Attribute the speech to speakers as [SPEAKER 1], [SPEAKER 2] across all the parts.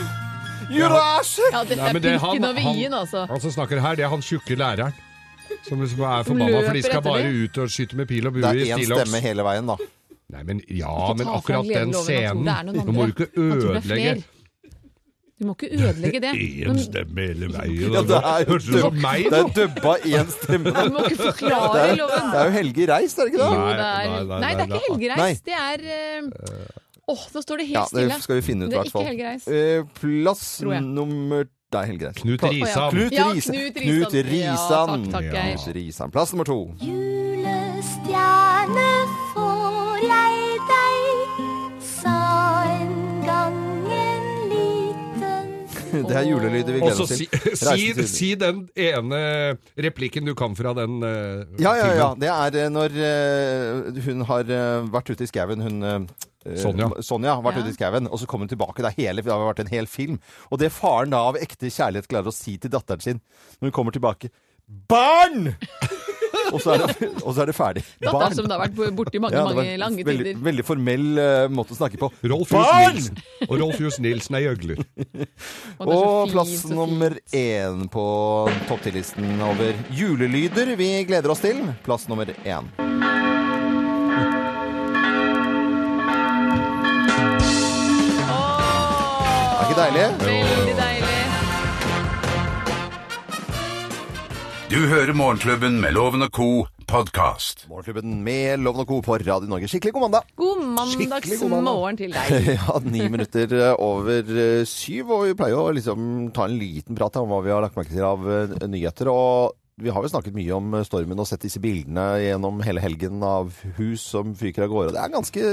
[SPEAKER 1] Jurassic!
[SPEAKER 2] Ja, dette
[SPEAKER 3] Nei,
[SPEAKER 2] er
[SPEAKER 3] men det- han-
[SPEAKER 2] pilken over
[SPEAKER 3] han-
[SPEAKER 2] i-en, altså.
[SPEAKER 3] Han som snakker her, det er han tjukke læreren. Som liksom er
[SPEAKER 2] Som
[SPEAKER 3] forbanna,
[SPEAKER 2] løper
[SPEAKER 3] for de skal
[SPEAKER 2] etter
[SPEAKER 3] bare
[SPEAKER 2] dem.
[SPEAKER 3] ut og skyte med pil og bue
[SPEAKER 4] Det
[SPEAKER 3] i
[SPEAKER 4] er én
[SPEAKER 3] stillongs.
[SPEAKER 4] stemme hele veien, da.
[SPEAKER 3] Nei, men ja,
[SPEAKER 2] Ikke
[SPEAKER 3] men
[SPEAKER 2] ta fra
[SPEAKER 3] akkurat den
[SPEAKER 2] Gledeloven og tro
[SPEAKER 3] scenen
[SPEAKER 2] det er noen
[SPEAKER 3] Nå må du
[SPEAKER 2] andre.
[SPEAKER 3] ikke
[SPEAKER 2] Han tror det er
[SPEAKER 3] ødelegge
[SPEAKER 2] flere. Du må ikke ødelegge det.
[SPEAKER 3] én
[SPEAKER 2] Men
[SPEAKER 3] stemme hele veien.
[SPEAKER 4] Ja, det er jo
[SPEAKER 3] Hørte du på
[SPEAKER 4] dub-
[SPEAKER 3] meg,
[SPEAKER 4] det
[SPEAKER 3] da?
[SPEAKER 4] er dubba én stemme.
[SPEAKER 2] du må ikke
[SPEAKER 4] Det
[SPEAKER 2] forklare
[SPEAKER 4] er, jo-
[SPEAKER 2] loven.
[SPEAKER 4] det er jo Helge Reist, er det ikke
[SPEAKER 2] Jo,
[SPEAKER 4] det?
[SPEAKER 3] Nei,
[SPEAKER 2] det
[SPEAKER 3] nei,
[SPEAKER 2] er
[SPEAKER 3] nei,
[SPEAKER 2] Nei, det
[SPEAKER 3] nei,
[SPEAKER 2] er ikke
[SPEAKER 4] nei.
[SPEAKER 2] helgereis. Det er eh, Åh, nå står det
[SPEAKER 4] Ja,
[SPEAKER 2] helt stille.
[SPEAKER 4] det skal vi finne ut, i
[SPEAKER 2] Det er
[SPEAKER 4] hvert fall.
[SPEAKER 2] ikke Helge Reis.
[SPEAKER 4] Eh, plass
[SPEAKER 2] Tror jeg.
[SPEAKER 4] nummer Nei, Helge Reis.
[SPEAKER 3] Knut Risan.
[SPEAKER 4] Knut
[SPEAKER 2] Ja,
[SPEAKER 4] Risan.
[SPEAKER 2] Knut Risan.
[SPEAKER 4] Knut Risan.
[SPEAKER 2] Ja, takk, takk,
[SPEAKER 3] Geir.
[SPEAKER 4] Knut Risan. Plass nummer to.
[SPEAKER 5] Julestjerne får jeg deg, sa en gang en liten
[SPEAKER 4] Det er julelyder vi
[SPEAKER 3] Og
[SPEAKER 4] gleder
[SPEAKER 3] så
[SPEAKER 4] oss
[SPEAKER 3] si,
[SPEAKER 4] til.
[SPEAKER 3] si,
[SPEAKER 4] Reisen til-
[SPEAKER 3] si den ene replikken du kan fra den eh,
[SPEAKER 4] Ja, ja, ja.
[SPEAKER 3] filmen.
[SPEAKER 4] Det er eh, når eh, hun har eh, vært ute i skauen, hun eh,
[SPEAKER 3] Sonja.
[SPEAKER 4] Sonja har vært
[SPEAKER 2] Ja.
[SPEAKER 4] ute i skauen, og så kommer hun tilbake. Det, er hele, det har vært en hel film. Og det faren da av ekte kjærlighet klarer å si til datteren sin når hun kommer tilbake Barn! og, så er det, og så er det ferdig.
[SPEAKER 2] Datteren som det har vært borti mange,
[SPEAKER 4] Ja, det var
[SPEAKER 2] mange lange
[SPEAKER 4] veldig,
[SPEAKER 2] tider.
[SPEAKER 4] veldig formell eh, måte å snakke på.
[SPEAKER 3] Rolf Johs
[SPEAKER 4] Barn!
[SPEAKER 3] Nilsen. Og Rolf Johs Nilsen er gjøgler.
[SPEAKER 2] Og det er så
[SPEAKER 4] Og
[SPEAKER 2] fint,
[SPEAKER 4] plass
[SPEAKER 2] så fint.
[SPEAKER 4] nummer én på topp 10-listen over julelyder vi gleder oss til. Plass nummer én.
[SPEAKER 2] Åh,
[SPEAKER 4] Er ikke deilig?
[SPEAKER 2] Veldig deilig.
[SPEAKER 6] Du hører Morgenklubben med Loven og Co. podkast.
[SPEAKER 4] Morgenklubben med Loven og Co. på Radio Norge. Skikkelig god mandag!
[SPEAKER 2] God
[SPEAKER 4] Skikkelig god mandag.
[SPEAKER 2] mandagsmorgen til deg.
[SPEAKER 4] Ja, ni minutter eh, over eh, syv, og vi pleier jo å liksom ta en liten prat om hva vi har lagt merke til av eh, nyheter. og vi har jo snakket mye om eh, stormen og sett disse bildene gjennom hele helgen av hus som fyker av gårde. Det er ganske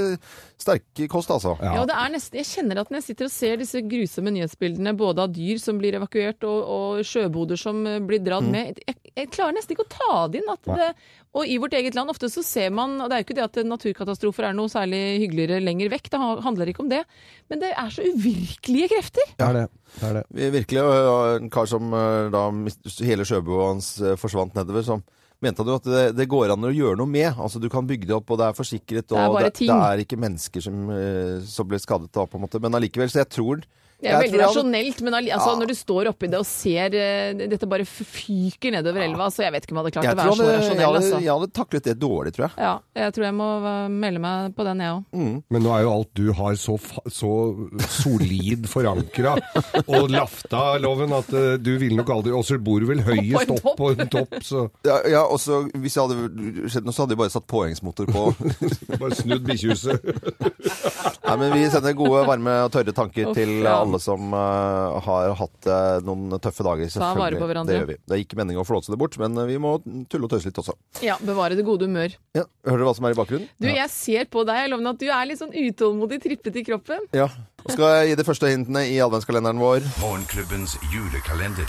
[SPEAKER 4] sterk kost, altså.
[SPEAKER 2] Ja, og det er nesten, Jeg kjenner at når jeg sitter og ser disse grusomme nyhetsbildene, både av dyr som blir evakuert og, og sjøboder som eh, blir dratt
[SPEAKER 4] Mm.
[SPEAKER 2] med jeg, jeg klarer nesten ikke å ta det inn. At det, og i vårt eget land, ofte så ser man og Det er jo ikke det at naturkatastrofer er noe særlig hyggeligere lenger vekk, det ha- handler ikke om det. Men det er så uvirkelige krefter.
[SPEAKER 3] Det er det. det, er det.
[SPEAKER 4] Vi er Virkelig. og En kar som eh, da mist- hele sjøbua hans eh, forsvant nedover, som mente han jo at det, det går an å gjøre noe med. Altså Du kan bygge det opp, og det er forsikret, og
[SPEAKER 2] er bare
[SPEAKER 4] det,
[SPEAKER 2] ting.
[SPEAKER 4] det er ikke mennesker som, eh, som ble skadet da, på en måte. Men allikevel, så jeg tror
[SPEAKER 2] Det er
[SPEAKER 4] jeg
[SPEAKER 2] veldig
[SPEAKER 4] tror jeg hadde-
[SPEAKER 2] rasjonelt, men alli- altså, når du står oppi det og ser eh, dette bare f- fyker nedover elva, så jeg vet ikke om jeg hadde klart
[SPEAKER 4] Jeg,
[SPEAKER 2] å
[SPEAKER 4] tror
[SPEAKER 2] være så
[SPEAKER 4] jeg, jeg,
[SPEAKER 2] rasjonell.
[SPEAKER 4] hadde,
[SPEAKER 2] Altså.
[SPEAKER 4] jeg hadde taklet det dårlig, tror jeg.
[SPEAKER 2] Ja, jeg tror jeg må eh, melde meg på den, jeg òg.
[SPEAKER 4] Mm.
[SPEAKER 3] Men nå er jo alt du har så, fa- så solid forankra og lafta, Loven, at eh, du vil nok aldri Og så bor du vel høyest
[SPEAKER 2] en
[SPEAKER 3] opp på en topp, så
[SPEAKER 4] Ja, ja, og så Hvis jeg hadde skjedd noe, så hadde jeg bare satt påhengsmotor på.
[SPEAKER 3] bare snudd bikkjehuset.
[SPEAKER 4] Nei, men Vi sender gode, varme og tørre tanker
[SPEAKER 2] Uff,
[SPEAKER 4] til
[SPEAKER 2] ja.
[SPEAKER 4] alle som eh, har hatt eh, noen tøffe dager.
[SPEAKER 2] Ta vare på
[SPEAKER 4] Selvfølgelig,
[SPEAKER 2] hverandre.
[SPEAKER 4] Det gjør vi. Det er ikke meningen å flåse det bort, men eh, vi må tulle og tøyse litt også.
[SPEAKER 2] Ja, bevare det gode humør.
[SPEAKER 4] Ja, Hører du hva som er i bakgrunnen?
[SPEAKER 2] Du, jeg ser på deg, jeg lover meg at du er litt sånn utålmodig trippet i kroppen.
[SPEAKER 4] Ja. Og skal jeg gi de første hintene i adventskalenderen vår.
[SPEAKER 6] Morgenklubbens julekalender.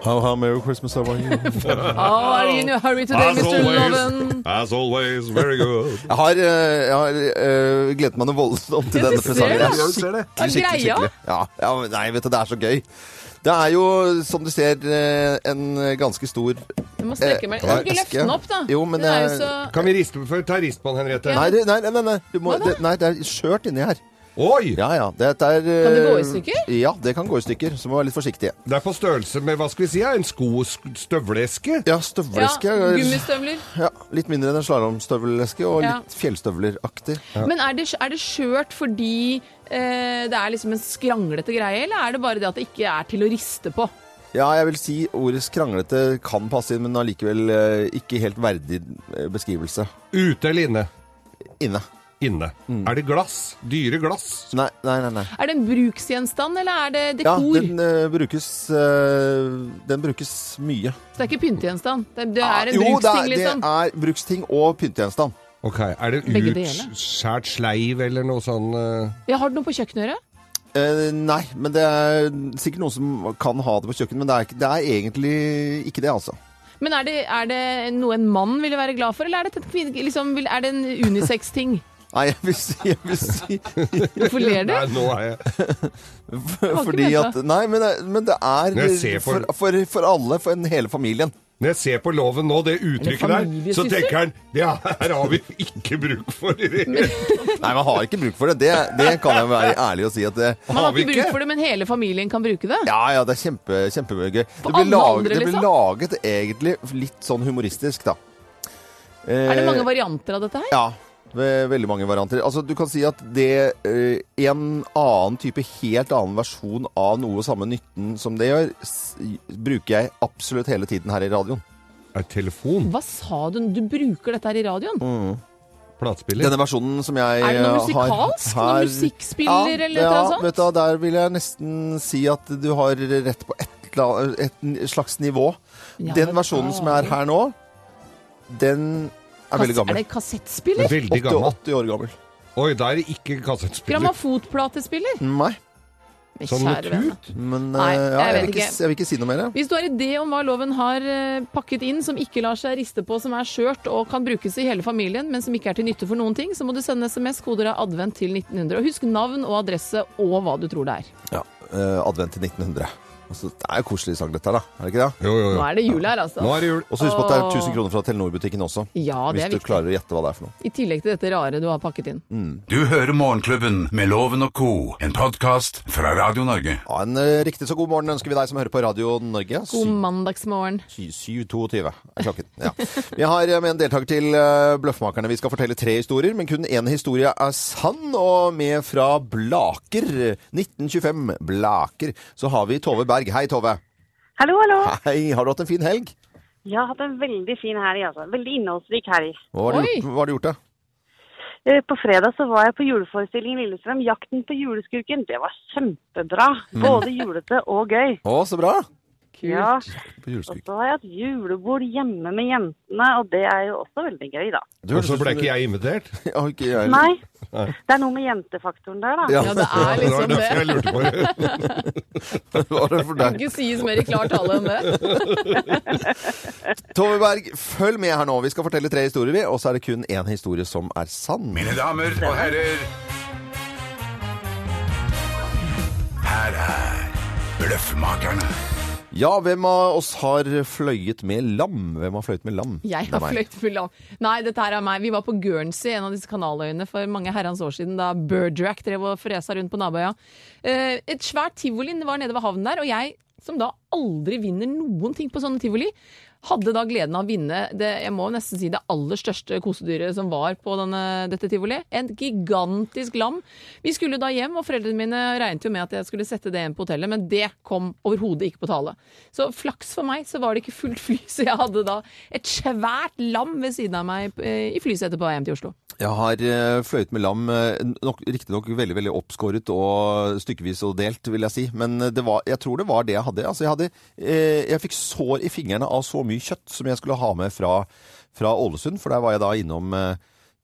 [SPEAKER 4] How, how, Merry Christmas, how are you?
[SPEAKER 2] Oh, are you in a hurry today,
[SPEAKER 3] As
[SPEAKER 2] Mr.
[SPEAKER 3] always.
[SPEAKER 2] Loven?
[SPEAKER 3] As always, very good.
[SPEAKER 4] Jeg har, eh, jeg har eh, gledet meg noe voldsomt til
[SPEAKER 2] Ja, du
[SPEAKER 4] denne
[SPEAKER 2] ser
[SPEAKER 4] presangen. Det er skikkelig,
[SPEAKER 2] det. Ja, greia.
[SPEAKER 4] skikkelig, skikkelig. Ja, ja, men nei, vet du, det er så gøy. Det er jo, som du ser, eh, en ganske stor eh,
[SPEAKER 2] Du må strekke meg. Kan du ikke løfte den opp, da?
[SPEAKER 4] Jo, men
[SPEAKER 2] den er jo
[SPEAKER 4] jeg-
[SPEAKER 2] så
[SPEAKER 3] Kan vi riste på, ta rist på den, Henriette?
[SPEAKER 4] Nei, det- nei, nei, nei, nei. Du må,
[SPEAKER 2] Hva da?
[SPEAKER 4] det, nei det er skjørt inni her.
[SPEAKER 3] Oi!
[SPEAKER 4] Ja, ja. Dette er,
[SPEAKER 2] Kan det gå i
[SPEAKER 4] eh,
[SPEAKER 2] stykker?
[SPEAKER 4] Ja, det kan gå i stykker. Så må vi være litt forsiktige.
[SPEAKER 3] Det er på størrelse med, hva skal vi si, ja, en sko sk- støvleske?
[SPEAKER 4] Ja,
[SPEAKER 2] Ja,
[SPEAKER 4] støvleske.
[SPEAKER 2] gummistøvler.
[SPEAKER 4] Ja, litt mindre enn en slalåmstøvleske, og
[SPEAKER 2] Ja.
[SPEAKER 4] litt fjellstøvleraktig.
[SPEAKER 2] Men er det, er det skjørt fordi eh, det er liksom en skranglete greie, eller er det bare det at det ikke er til å riste på?
[SPEAKER 4] Ja, jeg vil si ordet skranglete kan passe inn, men allikevel eh, ikke helt verdig eh, beskrivelse.
[SPEAKER 3] Ute eller inne?
[SPEAKER 4] Inne.
[SPEAKER 3] Inne. Er det glass? Dyre glass?
[SPEAKER 4] Nei, nei, nei. nei.
[SPEAKER 2] Er det en bruksgjenstand, eller er det
[SPEAKER 4] Ja,
[SPEAKER 2] dekor?
[SPEAKER 4] den, eh, brukes, eh, den brukes mye.
[SPEAKER 2] Så det er ikke pyntegjenstand. Det, det er en
[SPEAKER 4] Ah, jo, det er,
[SPEAKER 2] bruksting,
[SPEAKER 4] det
[SPEAKER 2] liksom.
[SPEAKER 4] er bruksting og pyntegjenstand.
[SPEAKER 3] Ok, er det
[SPEAKER 2] Begge deler.
[SPEAKER 3] utskjært sleiv eller noe sånn eh,
[SPEAKER 2] Jeg har det noe på kjøkkenøret.
[SPEAKER 4] Eh, nei, men det er sikkert noen som kan ha det på kjøkkenet, men det er, ikke- det er egentlig ikke det, altså.
[SPEAKER 2] Men er det, er det noe en mann ville være glad for, eller er det, et kvinne, liksom, vil- er det en unisex-ting?
[SPEAKER 4] Nei, jeg vil si, jeg vil si
[SPEAKER 2] Hvorfor ler du?
[SPEAKER 3] Nei, nå er jeg
[SPEAKER 4] Fordi
[SPEAKER 2] ment
[SPEAKER 4] at Nei, men, det- men det er
[SPEAKER 3] Jeg ser for-
[SPEAKER 4] for, for, for alle, for en, hele familien.
[SPEAKER 3] Når jeg ser på loven nå, det uttrykket der, så
[SPEAKER 2] familiesyssel?
[SPEAKER 3] tenker han Det her har vi ikke bruk for.
[SPEAKER 4] Nei, man har ikke bruk for det. Det, det kan jeg være ærlig og si at det
[SPEAKER 2] Man
[SPEAKER 3] Har
[SPEAKER 2] har
[SPEAKER 3] vi
[SPEAKER 2] ikke
[SPEAKER 3] ikke?
[SPEAKER 2] bruk for det, men hele familien kan bruke det.
[SPEAKER 4] ja, ja, det er kjempe, kjempegøy. Det
[SPEAKER 2] alle
[SPEAKER 4] blir laget,
[SPEAKER 2] andre,
[SPEAKER 4] det blir
[SPEAKER 2] liksom?
[SPEAKER 4] laget egentlig litt sånn humoristisk, da.
[SPEAKER 2] Er det mange varianter av dette her?
[SPEAKER 4] eh, Ja, ve- veldig mange varianter. Altså, du kan si at det eh, en annen type, helt annen versjon av noe samme nytten som det gjør, s bruker jeg absolutt hele tiden her i radioen.
[SPEAKER 3] Er telefon
[SPEAKER 2] Hva sa du? Du bruker dette her i radioen?
[SPEAKER 3] platespiller?
[SPEAKER 4] Denne versjonen som jeg
[SPEAKER 2] Er det noe
[SPEAKER 4] Mm, eh,
[SPEAKER 2] musikalsk?
[SPEAKER 4] har
[SPEAKER 2] Noen
[SPEAKER 4] her-
[SPEAKER 2] musikkspiller eller et eller annet sånt?
[SPEAKER 4] vet du, hva, der vil jeg nesten si at du har rett på et, la- et n- slags nivå.
[SPEAKER 2] Ja,
[SPEAKER 4] den
[SPEAKER 2] men
[SPEAKER 4] versjonen som er her nå, den er veldig
[SPEAKER 2] Kass- Er
[SPEAKER 4] gammel.
[SPEAKER 2] det kassettspiller?
[SPEAKER 3] Veldig gammel.
[SPEAKER 4] 88 år gammel.
[SPEAKER 3] Oi, da er det ikke kassettspiller.
[SPEAKER 2] Grammofotplatespiller?
[SPEAKER 4] Nei,
[SPEAKER 2] Men
[SPEAKER 3] Sånn med
[SPEAKER 2] kjære venn.
[SPEAKER 3] tut?
[SPEAKER 4] men
[SPEAKER 2] Nei,
[SPEAKER 4] eh, ja,
[SPEAKER 2] jeg
[SPEAKER 4] jeg,
[SPEAKER 2] vet
[SPEAKER 4] vil ikke,
[SPEAKER 2] ikke.
[SPEAKER 4] s- jeg vil ikke si noe mer. jeg.
[SPEAKER 2] Hvis du har idé om hva loven har eh, pakket inn som ikke lar seg riste på, som er skjørt og kan brukes i hele familien, men som ikke er til nytte for noen ting, så må du sende SMS koder av advent til 1900. Og husk navn og adresse og hva du tror det er.
[SPEAKER 4] Ja, eh, Advent til 1900. Altså, det er jo koselig sang dette her, da. Er det ikke det?
[SPEAKER 3] Jo, jo,
[SPEAKER 2] Nå
[SPEAKER 3] jo.
[SPEAKER 2] er det jul her, altså.
[SPEAKER 3] Nå er det jul.
[SPEAKER 4] Og så husk på at det er
[SPEAKER 2] Åh.
[SPEAKER 4] 1000 kroner fra Telenor-butikken også.
[SPEAKER 2] Ja, det
[SPEAKER 4] hvis
[SPEAKER 2] er
[SPEAKER 4] du
[SPEAKER 2] viktig.
[SPEAKER 4] klarer å gjette hva det er for noe.
[SPEAKER 2] I tillegg til dette rare du har pakket inn.
[SPEAKER 6] Du hører Morgenklubben med Loven og co., en podkast fra Radio Norge.
[SPEAKER 4] Ja, en eh, riktig så god morgen ønsker vi deg som hører på Radio Norge.
[SPEAKER 2] God mandagsmorgen.
[SPEAKER 4] 7.22 er klokken. Ja. Vi har eh, med en deltaker til eh, Bløffmakerne. Vi skal fortelle tre historier, men kun én historie er sann. Og med fra Blaker, 1925, Blaker, så har vi Tove Berg. Hei, Tove.
[SPEAKER 7] Hallo, hallo.
[SPEAKER 4] Hei, har du hatt en fin helg?
[SPEAKER 7] Jeg har hatt en veldig fin helg, altså. Veldig innholdsrik helg.
[SPEAKER 4] Hva har du
[SPEAKER 2] Oi.
[SPEAKER 4] gjort, hva har du gjort da?
[SPEAKER 7] Eh, På fredag så var jeg på juleforestillingen i Lillestrøm, 'Jakten på juleskurken'. Det var kjempebra.
[SPEAKER 4] Mm.
[SPEAKER 7] Både julete og gøy.
[SPEAKER 4] Å, så bra.
[SPEAKER 7] Ja,
[SPEAKER 4] På
[SPEAKER 7] og
[SPEAKER 4] juleskuken.
[SPEAKER 7] så har jeg hatt julebord hjemme med jentene, og det er jo også veldig gøy, da.
[SPEAKER 3] Og så ble ikke jeg invitert.
[SPEAKER 4] Ja, ikke jeg.
[SPEAKER 7] Nei, det er noe med jentefaktoren der, da.
[SPEAKER 4] Ja,
[SPEAKER 2] Ja, det er
[SPEAKER 3] Det var
[SPEAKER 2] liksom
[SPEAKER 3] derfor
[SPEAKER 2] det.
[SPEAKER 3] jeg lurte på det.
[SPEAKER 4] var det for deg.
[SPEAKER 2] Ikke sies mer i klar tale enn det.
[SPEAKER 4] Tove Berg, følg med her nå. Vi skal fortelle tre historier, vi. Og så er det kun én historie som er sann.
[SPEAKER 6] Mine damer og herrer, her er Bløffmakerne.
[SPEAKER 4] Ja, hvem av oss har fløyet med lam? Hvem har fløyet med lam?
[SPEAKER 2] Jeg
[SPEAKER 4] Det er
[SPEAKER 2] har
[SPEAKER 4] meg.
[SPEAKER 2] fløyt full av Nei, dette her er meg. Vi var på Guernsey, en av disse kanaløyene, for mange herrens år siden, da Birdrack drev og fresa rundt på naboøya. Eh, Et svært tivoli var nede ved havnen der, og jeg, som da aldri vinner noen ting på sånne tivoli, hadde da gleden av å vinne det, jeg må nesten si det aller største kosedyret som var på denne, dette tivoli. En gigantisk lam. Vi skulle da hjem, og foreldrene mine regnet jo med at jeg skulle sette det igjen på hotellet, men det kom overhodet ikke på tale. Så flaks for meg så var det ikke fullt fly, så jeg hadde da et svært lam ved siden av meg eh, i flysetet på vei hjem til Oslo.
[SPEAKER 4] Jeg har eh, fløyet med lam, eh, nok, riktignok veldig veldig oppskåret og stykkevis og delt, vil jeg si. Men eh, det var, jeg tror det var det jeg hadde. Altså, jeg, hadde eh, jeg fikk sår i fingrene av så mye kjøtt som jeg skulle ha med fra, fra Ålesund, for der var jeg da innom, eh,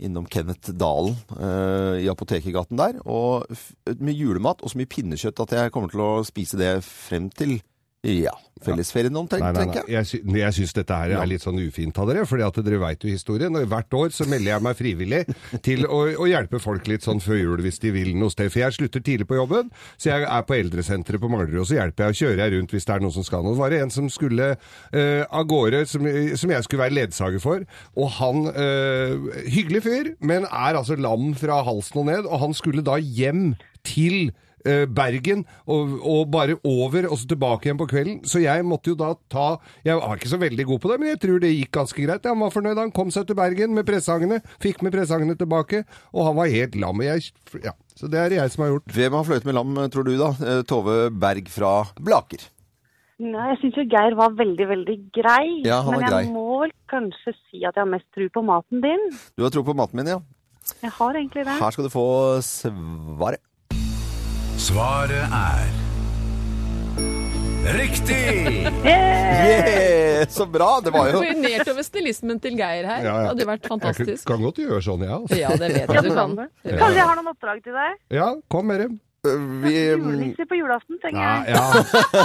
[SPEAKER 4] innom Kenneth Dalen eh, i Apotekergaten der. Og f med julemat og så mye pinnekjøtt at jeg kommer til å spise det frem til Ja. Fellesferien omtrent,
[SPEAKER 3] Nei, nei, nei.
[SPEAKER 4] tenker jeg.
[SPEAKER 3] Jeg, sy jeg syns dette her er litt sånn ufint av dere, for dere veit jo historien. Og hvert år så melder jeg meg frivillig til å, å hjelpe folk litt sånn før jul hvis de vil noe sted. For jeg slutter tidlig på jobben, så jeg er på eldresenteret på Malerud, og så hjelper jeg og kjører jeg rundt hvis det er noen som skal noe. Det var det en som skulle eh, av gårde, som, som jeg skulle være ledsager for, og han eh, Hyggelig fyr, men er altså lam fra halsen og ned, og han skulle da hjem til eh, Bergen, og, og bare over, og så tilbake igjen på kvelden. Så jeg måtte jo da ta Jeg var ikke så veldig god på det, men jeg tror det gikk ganske greit. Han var fornøyd. Han kom seg til Bergen med presangene, fikk med presangene tilbake, og han var helt lam. og Jeg, ja, så det er det jeg som har gjort.
[SPEAKER 4] Hvem har fløyet med lam, tror du da? Eh, Tove Berg fra Blaker.
[SPEAKER 7] Nei, jeg syns jo Geir var veldig, veldig grei.
[SPEAKER 4] Ja, han var
[SPEAKER 7] men jeg
[SPEAKER 4] grei.
[SPEAKER 7] må vel kanskje si at jeg har mest tro på maten din.
[SPEAKER 4] Du har tro på maten min, ja.
[SPEAKER 7] Jeg har egentlig det.
[SPEAKER 4] Her skal du få svaret.
[SPEAKER 6] Svaret er Riktig!
[SPEAKER 7] Eh,
[SPEAKER 4] Yeah, så bra! Det var jo
[SPEAKER 2] Imponert over snillismen til Geir her. Det hadde jo vært
[SPEAKER 3] Jeg
[SPEAKER 2] fantastisk.
[SPEAKER 3] kan kan godt gjøre sånn, jeg. altså.
[SPEAKER 2] Ja, det vet
[SPEAKER 7] Ja,
[SPEAKER 2] jeg du sånn?
[SPEAKER 7] du
[SPEAKER 2] kan.
[SPEAKER 7] kan Kanskje jeg har noen oppdrag til deg?
[SPEAKER 3] Ja, kom med dem.
[SPEAKER 4] vi,
[SPEAKER 7] Julenisse på julaften, tenker
[SPEAKER 3] Ja,
[SPEAKER 7] jeg.
[SPEAKER 3] ja.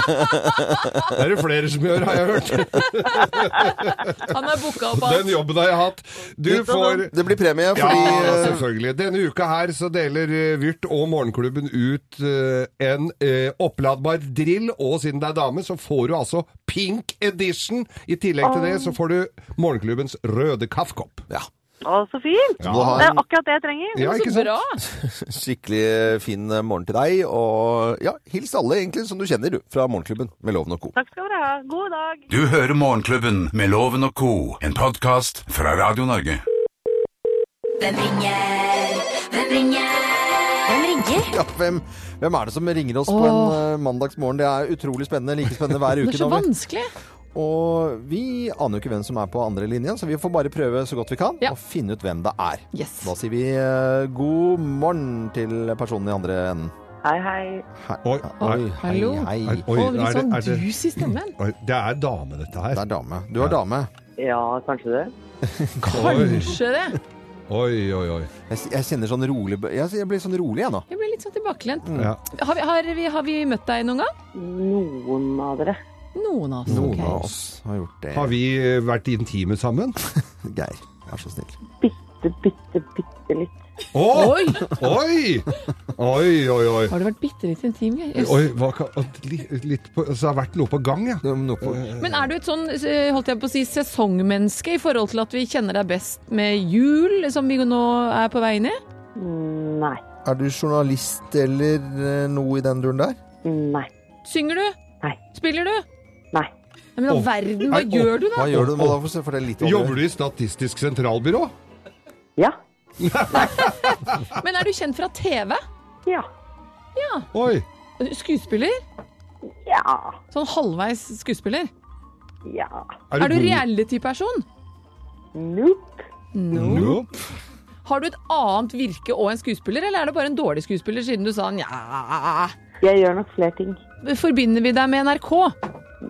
[SPEAKER 3] Det er det flere som gjør, har jeg hørt.
[SPEAKER 2] Han er booka opp
[SPEAKER 3] Den
[SPEAKER 2] alt.
[SPEAKER 3] jobben har jeg hatt. Du får
[SPEAKER 4] Det blir premie
[SPEAKER 3] Ja,
[SPEAKER 4] fordi
[SPEAKER 3] da,
[SPEAKER 4] eh,
[SPEAKER 3] selvfølgelig. Denne uka her så deler eh, Vyrt og Morgenklubben ut eh, en eh, oppladbar drill, og siden det er dame, så får du altså Pink Edition. I tillegg til det så får du Morgenklubbens røde kaffekopp.
[SPEAKER 4] ja,
[SPEAKER 7] Å, så fint!
[SPEAKER 3] Ja.
[SPEAKER 7] Det er akkurat det jeg trenger.
[SPEAKER 3] Ja, ikke sånn
[SPEAKER 2] Så
[SPEAKER 3] sant?
[SPEAKER 2] bra!
[SPEAKER 4] skikkelig fin eh, morgen til deg. Og ja, hils alle egentlig som du kjenner, du, fra Morgenklubben med Loven og Co.
[SPEAKER 7] Takk skal dere ha. God dag.
[SPEAKER 6] Du hører Morgenklubben med Loven og Co., en podkast fra Radio Norge.
[SPEAKER 5] Hvem ringer? Hvem ringer? Hvem ringer?
[SPEAKER 4] Ja, hvem, hvem er det som ringer oss på en eh, mandagsmorgen? Det er utrolig spennende. Like spennende hver
[SPEAKER 2] Det
[SPEAKER 4] uke.
[SPEAKER 2] er så
[SPEAKER 4] nå, vi-
[SPEAKER 2] vanskelig.
[SPEAKER 4] Og vi aner jo ikke hvem som er på andre linjen, så vi får bare prøve så godt vi kan
[SPEAKER 2] Ja.
[SPEAKER 4] og finne ut hvem det er.
[SPEAKER 2] Yes.
[SPEAKER 4] Da sier vi eh, god morgen til personen i andre enden.
[SPEAKER 7] Hei, hei.
[SPEAKER 3] Oi,
[SPEAKER 4] Oi,
[SPEAKER 3] nei.
[SPEAKER 4] hei,
[SPEAKER 2] hallo.
[SPEAKER 4] hei.
[SPEAKER 3] Nei,
[SPEAKER 2] Å,
[SPEAKER 3] oi,
[SPEAKER 2] det blir
[SPEAKER 3] er det,
[SPEAKER 2] sånn
[SPEAKER 3] er det,
[SPEAKER 2] dus i stemmen.
[SPEAKER 3] oi, det er dame, dette
[SPEAKER 4] Det
[SPEAKER 3] her.
[SPEAKER 4] er dame. Du er dame.
[SPEAKER 7] Ja, kanskje det.
[SPEAKER 3] Oi,
[SPEAKER 2] Kanskje det.
[SPEAKER 3] oi, oi. oi.
[SPEAKER 4] Jeg, jeg kjenner sånn rolig Jeg, jeg blir sånn rolig, jeg nå.
[SPEAKER 2] Jeg ble litt sånn tilbakelent.
[SPEAKER 3] Ja.
[SPEAKER 2] Har vi, har, vi, har vi møtt deg noen gang?
[SPEAKER 7] Noen av dere.
[SPEAKER 2] Noen av oss.
[SPEAKER 4] Noen
[SPEAKER 2] ok.
[SPEAKER 4] av oss har gjort det.
[SPEAKER 3] Har vi eh, vært intime sammen?
[SPEAKER 4] Geir, vær så snill.
[SPEAKER 7] Bitte, bitte, bitte litt.
[SPEAKER 3] Å!
[SPEAKER 2] Oi!
[SPEAKER 3] Oi! Oi, oi, oi.
[SPEAKER 2] Har du vært bitte litt intim? Geir? Jøss.
[SPEAKER 3] Oi, hva, kan- li- litt på, så det har vært noe på gang, ja.
[SPEAKER 2] Men er du et sånn eh, holdt jeg på å si, sesongmenneske i forhold til at vi kjenner deg best med jul, som vi nå er på vei inn i?
[SPEAKER 7] Nei.
[SPEAKER 4] Er du journalist eller eh, noe i den duren der?
[SPEAKER 7] Nei.
[SPEAKER 2] Synger du?
[SPEAKER 7] Nei.
[SPEAKER 2] Spiller du?
[SPEAKER 7] Nei.
[SPEAKER 2] Nei, men all
[SPEAKER 3] Åh.
[SPEAKER 2] verden, hva
[SPEAKER 3] Nei, åh.
[SPEAKER 2] gjør du da?
[SPEAKER 4] Hva gjør du nå? da? Få fortelle litt om
[SPEAKER 3] Jobber du
[SPEAKER 4] det.
[SPEAKER 3] i Statistisk sentralbyrå?
[SPEAKER 7] Ja.
[SPEAKER 2] Men er du kjent fra TV?
[SPEAKER 7] Ja.
[SPEAKER 3] Oi.
[SPEAKER 2] Skuespiller?
[SPEAKER 7] Ja.
[SPEAKER 2] Sånn halvveis skuespiller?
[SPEAKER 7] Ja.
[SPEAKER 2] Er du
[SPEAKER 3] god?
[SPEAKER 2] reality-person?
[SPEAKER 7] Nope.
[SPEAKER 3] Nope.
[SPEAKER 2] Har du et annet virke og en skuespiller, eller er du bare en dårlig skuespiller siden du sa nja
[SPEAKER 7] Jeg gjør nok flere ting.
[SPEAKER 2] Forbinder vi deg med NRK?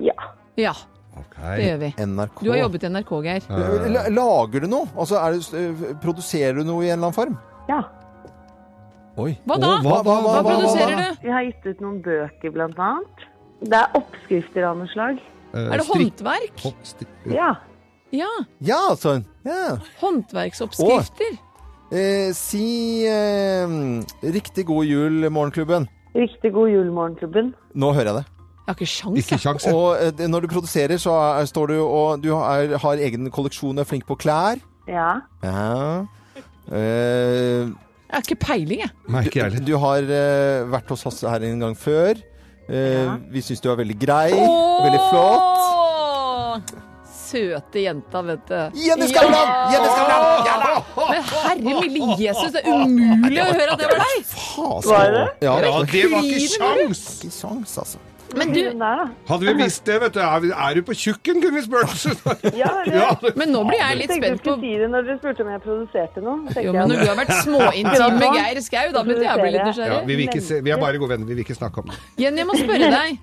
[SPEAKER 7] Ja.
[SPEAKER 2] Ja,
[SPEAKER 3] Ok. Eh,
[SPEAKER 2] det gjør vi.
[SPEAKER 4] NRK. Eh,
[SPEAKER 2] Du har jobbet i NRK, Geir.
[SPEAKER 4] La- Lager du noe? Altså, er du, eh, produserer du noe i en eller annen form?
[SPEAKER 7] Ja.
[SPEAKER 4] Oi.
[SPEAKER 2] Hva da?
[SPEAKER 3] Å, hva, hva, hva,
[SPEAKER 2] Hva
[SPEAKER 4] hva,
[SPEAKER 2] produserer
[SPEAKER 4] hva?
[SPEAKER 2] du?
[SPEAKER 7] Vi har gitt ut noen bøker, blant annet. Det er oppskrifter av noe slag.
[SPEAKER 3] Eh,
[SPEAKER 2] Er det
[SPEAKER 3] strikk-
[SPEAKER 2] håndverk?
[SPEAKER 3] Hopp- strikk-
[SPEAKER 7] Ja.
[SPEAKER 2] Ja.
[SPEAKER 4] Ja, sånn. Ja.
[SPEAKER 2] Håndverksoppskrifter.
[SPEAKER 4] Eh, si eh, riktig god jul, Morgenklubben.
[SPEAKER 7] Riktig god jul, Morgenklubben.
[SPEAKER 4] Nå hører jeg det.
[SPEAKER 2] Jeg har ikke sjans,
[SPEAKER 3] Ikke
[SPEAKER 2] jeg.
[SPEAKER 3] kjangs.
[SPEAKER 4] Og eh, det- når du produserer, så er, står du og du er, har egen kolleksjon, er flink på klær.
[SPEAKER 7] Ja.
[SPEAKER 4] Ja. Eh,
[SPEAKER 2] Jeg har ikke peiling, jeg.
[SPEAKER 3] Merker jeg litt.
[SPEAKER 4] du har eh, vært hos oss her en gang før. Eh, Vi syns du er veldig grei. Veldig flott.
[SPEAKER 2] flott. Søte jenta, vet du.
[SPEAKER 4] Jenny Skavlan! Jenny Skavlan! Ja da!
[SPEAKER 2] Men herre milde Jesus, det er umulig å høre at det var deg!
[SPEAKER 4] Fasen.
[SPEAKER 7] Var det?
[SPEAKER 4] Ja, det
[SPEAKER 3] Ja,
[SPEAKER 4] var
[SPEAKER 3] det var ikke sjans!
[SPEAKER 4] ikke sjans, altså.
[SPEAKER 2] Men du,
[SPEAKER 7] Hun der, da.
[SPEAKER 3] Hadde vi visst det, vet du. Er, vi- er du på tjukken, kunne vi spurt.
[SPEAKER 7] Ja, det-
[SPEAKER 3] Ja, det-
[SPEAKER 2] men nå blir jeg
[SPEAKER 7] Jeg
[SPEAKER 2] litt
[SPEAKER 7] tenkte du
[SPEAKER 2] spent på
[SPEAKER 7] skulle si det når dere spurte om jeg produserte noe. tenkte
[SPEAKER 2] jo, men
[SPEAKER 7] jeg.
[SPEAKER 2] Når du har vært småintim med Geir Skau, da begynte jeg å bli litt
[SPEAKER 3] ja,
[SPEAKER 2] nysgjerrig.
[SPEAKER 3] vi, vil ikke se, vi er bare gode venner, vi vil ikke snakke om det.
[SPEAKER 2] Jenny, jeg må spørre deg.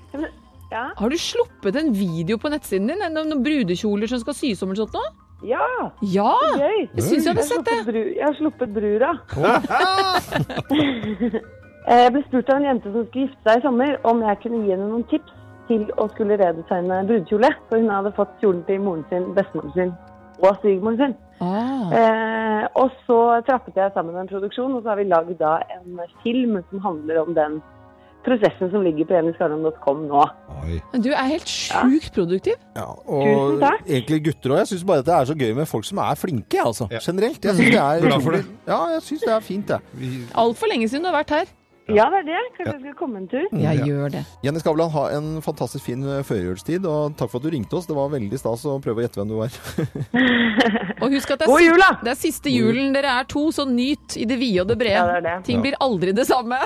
[SPEAKER 7] Ja.
[SPEAKER 2] Har du sluppet en video på nettsiden din? En- Noen brudekjoler som skal sys om eller sånt nå?
[SPEAKER 7] ja,
[SPEAKER 2] Ja!
[SPEAKER 7] gøy!
[SPEAKER 2] Jeg syns jeg
[SPEAKER 7] Jeg
[SPEAKER 2] hadde sett
[SPEAKER 7] har sluppet,
[SPEAKER 2] det.
[SPEAKER 7] bru, jeg har sluppet brura. Eh, Jeg ble spurt av en jente som skulle gifte seg i sommer, om jeg kunne gi henne noen tips til å skulle redesigne brudekjole. For hun hadde fått kjolen til moren sin, bestemoren sin og svigermoren sin. Eh, og så trappet jeg sammen en produksjon, og så har vi lagd da en film som handler om den prosessen som ligger på jennyskardon.com nå.
[SPEAKER 2] Men Du er helt sjukt produktiv.
[SPEAKER 4] Ja, og
[SPEAKER 7] Tusen takk.
[SPEAKER 4] egentlig gutter òg. Jeg syns bare at det er så gøy med folk som er flinke, altså. Generelt. Jeg syns det er
[SPEAKER 3] Glad for det.
[SPEAKER 4] Ja, jeg synes det er fint, jeg.
[SPEAKER 2] Altfor lenge siden du har vært her.
[SPEAKER 7] Ja, det er det. Kanskje jeg skulle komme en tur?
[SPEAKER 2] Jeg gjør det.
[SPEAKER 4] Jenny Skavlan, ha en fantastisk fin eh, førjulstid, og takk for at du ringte oss. Det var veldig stas å prøve å gjette hvem du var.
[SPEAKER 2] Og husk at det er,
[SPEAKER 7] God
[SPEAKER 2] siste-
[SPEAKER 7] jul, da!
[SPEAKER 2] det er siste julen. Dere er to, så nyt i det vide og det brede.
[SPEAKER 7] Ja, det er det.
[SPEAKER 2] Ting blir aldri det samme.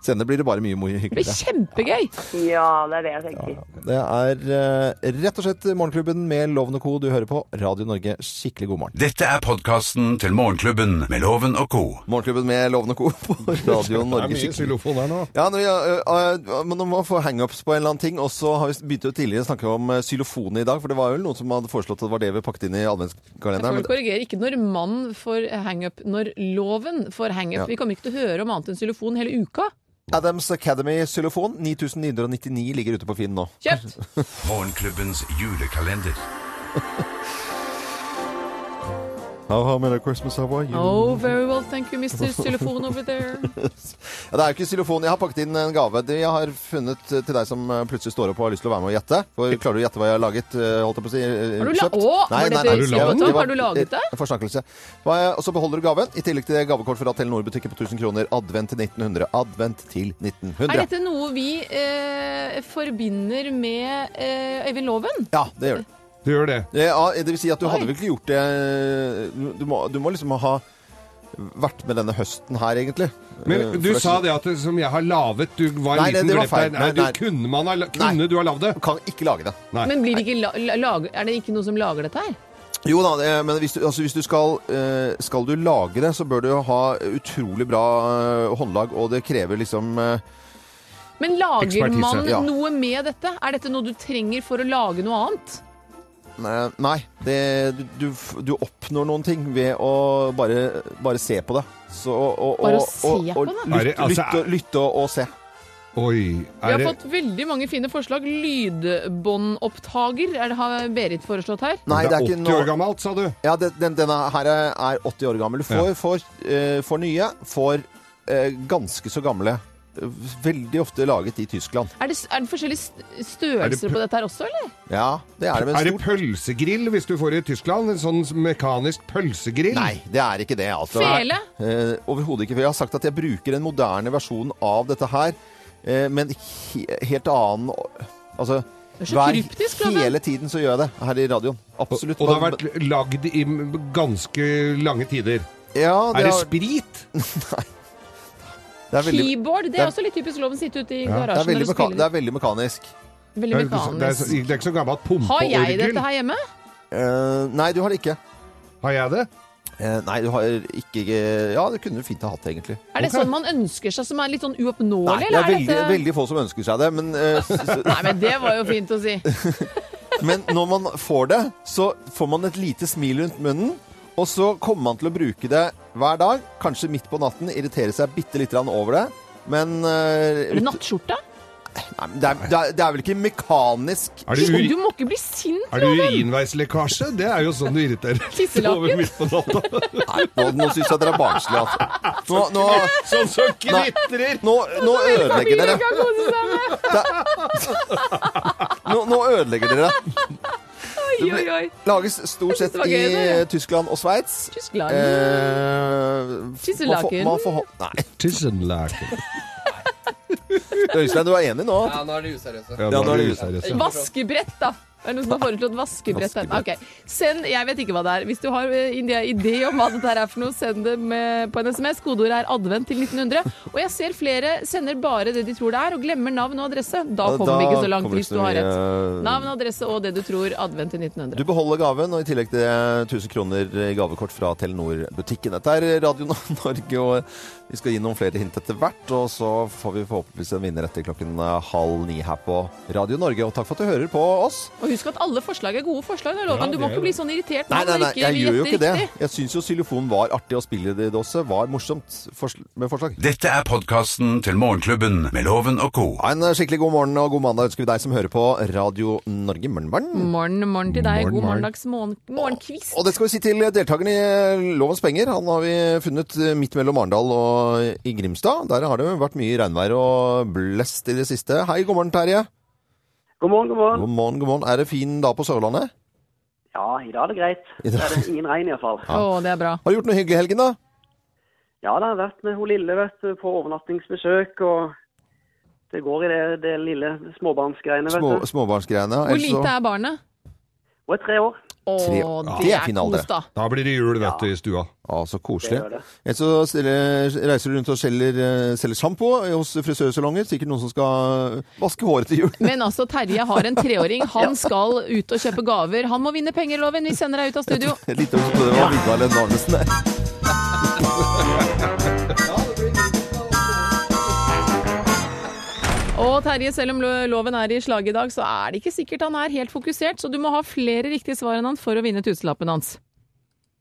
[SPEAKER 4] Senere blir det bare mye mye
[SPEAKER 2] Det blir
[SPEAKER 4] hyggeligere.
[SPEAKER 2] kjempegøy.
[SPEAKER 7] Ja, det er det jeg tenker.
[SPEAKER 4] Det er eh, rett og slett Morgenklubben med Loven og Co. du hører på. Radio Norge, skikkelig god morgen.
[SPEAKER 6] Dette er podkasten til Morgenklubben med Loven og co.
[SPEAKER 4] Morgenklubben med Loven og Co. på Radio
[SPEAKER 3] Det er
[SPEAKER 4] Norge.
[SPEAKER 3] mye
[SPEAKER 4] Skikkelig.
[SPEAKER 3] xylofon her nå.
[SPEAKER 4] Ja, når vi, øh, øh, men Nå må vi få hangups på en eller annen ting. Og så har vi begynt å tidligere snakke om øh, xylofonet i dag. For det var jo noen som hadde foreslått at det var det vi pakket inn i
[SPEAKER 2] Jeg får
[SPEAKER 4] adventskalenderen.
[SPEAKER 2] vel korrigere. Ikke når mann får hangup, når loven får hangup.
[SPEAKER 4] Ja.
[SPEAKER 2] Vi kommer ikke til å høre om annet enn xylofon hele uka.
[SPEAKER 4] Men Adams Academy xylofon 9999 ligger ute på Finn nå.
[SPEAKER 2] Kjøpt!
[SPEAKER 6] Morgenklubbens julekalender.
[SPEAKER 4] How many Christmas have I?
[SPEAKER 2] Oh, very well, thank you, Mr. Xylofon over there.
[SPEAKER 4] Ja, det er jo ikke xylofon. Jeg har pakket inn en gave. Det jeg har funnet øh, til deg som øh, plutselig står opp og har lyst til å være med og gjette. For klarer du å gjette hva jeg har laget? øh, Holdt jeg på å si. øh,
[SPEAKER 2] Har du la-
[SPEAKER 4] kjøpt?
[SPEAKER 2] Å, var det det
[SPEAKER 3] du laget?
[SPEAKER 4] det var-
[SPEAKER 2] Har du laget det?
[SPEAKER 4] eh, Forsnakkelse. Hva er- Og så beholder du gaven. I tillegg til det gavekort fra Telenor-butikken på 1000 kroner. Advent til 1900. Advent til 1900.
[SPEAKER 2] Er dette noe vi eh, forbinder med eh, Øyvind Loven?
[SPEAKER 4] Ja, det gjør det.
[SPEAKER 3] Du gjør det.
[SPEAKER 4] Ja, eh, det vil si at du
[SPEAKER 2] Oi.
[SPEAKER 4] hadde vel ikke gjort det du- Du må, du må liksom ha vært med denne høsten her, egentlig. Eh,
[SPEAKER 3] Men du
[SPEAKER 4] for å-
[SPEAKER 3] sa det at det som jeg har laget Du var en
[SPEAKER 4] Nei, det-
[SPEAKER 3] liten
[SPEAKER 4] det var
[SPEAKER 3] glepp
[SPEAKER 4] feil.
[SPEAKER 3] der. Nei,
[SPEAKER 4] Nei,
[SPEAKER 3] du,
[SPEAKER 4] nei.
[SPEAKER 3] kunne, man ha, la-
[SPEAKER 4] Nei.
[SPEAKER 3] kunne du ha lagd det?
[SPEAKER 4] Kan ikke lage det.
[SPEAKER 3] Nei.
[SPEAKER 2] Men blir det ikke la, la, lag- er det ikke noe som lager dette her?
[SPEAKER 4] Jo da, det, men hvis du, altså, hvis du skal, eh, skal du lage det, så bør du ha utrolig bra eh, håndlag, og det krever liksom eh,
[SPEAKER 2] Men lager
[SPEAKER 3] Ekspertise,
[SPEAKER 2] man
[SPEAKER 4] ja.
[SPEAKER 2] noe med dette? Er dette noe du trenger for å lage noe annet?
[SPEAKER 4] Nei, nei, det, du, du, f- du oppnår noen ting ved å bare, bare se på det. Så, og, og,
[SPEAKER 2] Bare å
[SPEAKER 4] og-
[SPEAKER 2] se
[SPEAKER 4] og,
[SPEAKER 2] på det?
[SPEAKER 4] Og lytte,
[SPEAKER 3] Er det- altså,
[SPEAKER 4] lytte, lytte og, og se.
[SPEAKER 3] Oi.
[SPEAKER 2] Vi
[SPEAKER 3] Er
[SPEAKER 2] har
[SPEAKER 3] det
[SPEAKER 2] fått veldig mange fine forslag. Lydbåndopptaker er det har Berit foreslått her.
[SPEAKER 4] Nei,
[SPEAKER 3] det er 80
[SPEAKER 4] noe-
[SPEAKER 3] år gammelt, sa du?
[SPEAKER 4] Ja, det, den, denne her er er 80 år gammel. Du får, får, eh, får nye, får eh, ganske så gamle. Veldig ofte laget i Tyskland.
[SPEAKER 2] Er det, er det forskjellige st-
[SPEAKER 3] Er det
[SPEAKER 2] størrelser
[SPEAKER 3] pu-
[SPEAKER 2] på dette her også, eller?
[SPEAKER 4] Ja, det er det
[SPEAKER 3] Er
[SPEAKER 4] med
[SPEAKER 3] det
[SPEAKER 4] stort.
[SPEAKER 3] pølsegrill hvis du får i Tyskland? En sånn mekanisk pølsegrill?
[SPEAKER 4] Nei, det er ikke det. Altså.
[SPEAKER 2] Fele?
[SPEAKER 4] Eh, Overhodet ikke. For jeg har sagt at jeg bruker en moderne versjon av dette her, eh, men he helt annen Altså
[SPEAKER 2] er så kryptisk, Loven.
[SPEAKER 4] hele tiden så gjør jeg det her i radioen. Absolutt.
[SPEAKER 3] Og det har vært lagd i m- ganske lange tider.
[SPEAKER 4] ja, det
[SPEAKER 3] Er det
[SPEAKER 4] har-
[SPEAKER 3] sprit?
[SPEAKER 4] det er veldig,
[SPEAKER 2] Keyboard, det
[SPEAKER 4] det er-
[SPEAKER 2] er også litt typisk loven sitte ute i
[SPEAKER 4] det er
[SPEAKER 2] garasjen
[SPEAKER 4] veldig,
[SPEAKER 2] når du
[SPEAKER 4] meka det
[SPEAKER 2] spiller.
[SPEAKER 4] er veldig mekanisk.
[SPEAKER 3] Det
[SPEAKER 2] Veldig
[SPEAKER 3] er, det, er,
[SPEAKER 2] mekanisk.
[SPEAKER 3] det er ikke så gammelt pumpe
[SPEAKER 2] Har
[SPEAKER 3] og
[SPEAKER 2] jeg
[SPEAKER 3] orgel.
[SPEAKER 2] dette her hjemme?
[SPEAKER 4] Eh, nei, du har det ikke.
[SPEAKER 3] Har jeg det?
[SPEAKER 4] Eh, nei, du har ikke Ja, det kunne du fint ha hatt, egentlig.
[SPEAKER 2] Er det
[SPEAKER 3] Ok.
[SPEAKER 2] sånn man ønsker seg, som er litt sånn
[SPEAKER 4] Nei,
[SPEAKER 2] uoppnåelig?
[SPEAKER 4] det er
[SPEAKER 2] eller
[SPEAKER 4] veldig,
[SPEAKER 2] dette-
[SPEAKER 4] veldig få som ønsker seg det, men, eh, s-
[SPEAKER 2] Nei, men det var jo fint å si.
[SPEAKER 4] men når man får det, så får man et lite smil rundt munnen, og så kommer man til å bruke det hver dag, kanskje midt på natten, irritere seg bitte litt over det, men eh,
[SPEAKER 2] Er det nattskjorta?
[SPEAKER 4] nei, men det, er, det, er, det er vel ikke mekanisk
[SPEAKER 3] Er det,
[SPEAKER 2] Du
[SPEAKER 3] uri,
[SPEAKER 2] må ikke bli sint,
[SPEAKER 3] er det urinveislekkasje? Det er jo sånn du irriterer deg over
[SPEAKER 2] Tisselaken?
[SPEAKER 3] midt på natta.
[SPEAKER 4] Nei, nå, nå syns jeg dere er barnslige, altså. Nå, nå,
[SPEAKER 3] Sånn som
[SPEAKER 4] Nei.
[SPEAKER 3] knitrer!
[SPEAKER 4] nå, nå ødelegger dere.
[SPEAKER 2] kan kose seg med.
[SPEAKER 4] Nå, nå ødelegger dere.
[SPEAKER 2] Oi, oi, oi.
[SPEAKER 4] Lages stort
[SPEAKER 2] Jeg synes
[SPEAKER 4] sett
[SPEAKER 2] det var
[SPEAKER 4] i
[SPEAKER 2] gøy, det, ja.
[SPEAKER 4] Tyskland og Sveits.
[SPEAKER 2] Tyskland.
[SPEAKER 4] Eh,
[SPEAKER 2] Tisselaken.
[SPEAKER 4] Man får, man får, nei.
[SPEAKER 3] Tissenlaken.
[SPEAKER 4] Øystein, du er enig nå?
[SPEAKER 8] Ja, nå er de useriøse.
[SPEAKER 3] Ja,
[SPEAKER 4] nå
[SPEAKER 3] nå
[SPEAKER 4] er
[SPEAKER 3] er
[SPEAKER 4] det
[SPEAKER 3] det useriøst. ja.
[SPEAKER 2] Vaskebrett, da. Er det noen som har foreslått vaskebrett? her? Ok, send, Jeg vet ikke hva det er. Hvis du har eh, ide- idé om hva dette her er for noe, send det med, på en SMS. Kodeordet er 'advent' til 1900. Og jeg ser flere sender bare det de tror det er, og glemmer navn og adresse. Da kommer vi ikke så langt
[SPEAKER 4] kommer
[SPEAKER 2] hvis
[SPEAKER 4] ikke
[SPEAKER 2] du
[SPEAKER 4] så
[SPEAKER 2] har
[SPEAKER 4] mye,
[SPEAKER 2] rett.
[SPEAKER 4] eh,
[SPEAKER 2] Navn, adresse og det du tror. Advent til
[SPEAKER 4] Du
[SPEAKER 2] 1900.
[SPEAKER 4] beholder gaven, og i tillegg til det 1000 kroner i gavekort fra Telenor-butikken. Dette er Radio Norge, og vi skal gi noen flere hint etter hvert. Og så får vi forhåpentligvis en vinner etter klokken eh, halv ni her på Radio Norge. Og takk for at du hører på oss.
[SPEAKER 2] Og Og husk at alle forslag er gode forslag, da, Loven.
[SPEAKER 4] Ja,
[SPEAKER 2] du
[SPEAKER 4] det
[SPEAKER 2] må
[SPEAKER 4] er
[SPEAKER 2] ikke
[SPEAKER 4] det.
[SPEAKER 2] bli sånn irritert
[SPEAKER 4] Nei,
[SPEAKER 2] når
[SPEAKER 4] nei,
[SPEAKER 2] man
[SPEAKER 4] nei, jeg gjør jo ikke det.
[SPEAKER 2] gjetter riktig.
[SPEAKER 4] Jeg syns jo xylofon var artig å spille det også. Var morsomt forsl- med forslag.
[SPEAKER 6] Dette er podkasten til Morgenklubben med Loven og co.
[SPEAKER 4] En skikkelig god morgen og god mandag ønsker vi deg som hører på Radio Norge. Morgen, morgen.
[SPEAKER 2] Morgen, morgen til
[SPEAKER 4] Morgen,
[SPEAKER 2] deg. God
[SPEAKER 4] morgen.
[SPEAKER 2] morgendags morgen, morgenkvist.
[SPEAKER 4] Og det skal vi si til deltakerne i eh, Lovens penger. Han har vi funnet eh, midt mellom Arendal og i Grimstad. Der har det vært mye regnvær og blest i det siste. Hei, god morgen, Terje.
[SPEAKER 8] God morgen, god morgen.
[SPEAKER 4] God morgen, god morgen. Er det fin dag på Sørlandet?
[SPEAKER 8] Ja, i dag er det greit.
[SPEAKER 4] I dag-
[SPEAKER 8] Det er det ingen regn iallfall.
[SPEAKER 4] Ja. Å,
[SPEAKER 2] det er bra.
[SPEAKER 4] Har du gjort noe hyggelig i helgen, da?
[SPEAKER 8] Ja, det har vært med hun lille vet du, på overnattingsbesøk, og det går i det, det lille småbarnsgreiene, vet
[SPEAKER 4] Små,
[SPEAKER 8] du.
[SPEAKER 4] småbarnsgreiene.
[SPEAKER 2] Hvor lite er barnet?
[SPEAKER 8] Hun er tre år.
[SPEAKER 2] Å,
[SPEAKER 4] Tre-
[SPEAKER 2] det,
[SPEAKER 4] Ja,
[SPEAKER 2] er
[SPEAKER 4] fin alder.
[SPEAKER 2] kos, da.
[SPEAKER 3] Da blir det jul, vet du, i stua.
[SPEAKER 4] Ja, så koselig.
[SPEAKER 8] Det gjør det.
[SPEAKER 4] Ellers så selger- reiser du rundt og selger, eh, selger sjampo hos frisørsalonger. Sikkert noen som skal vaske håret til jul.
[SPEAKER 2] Men altså, Terje har en treåring. Han skal ut og kjøpe gaver. Han må vinne penger, Loven. Vi sender deg ut av studio.
[SPEAKER 4] Et lite ord på det var Mikael Arnesen.
[SPEAKER 2] Og Terje, selv om lo- Loven er i slaget i dag, så er det ikke sikkert han er helt fokusert, så du må ha flere riktige svar enn han for å vinne tusenlappen hans.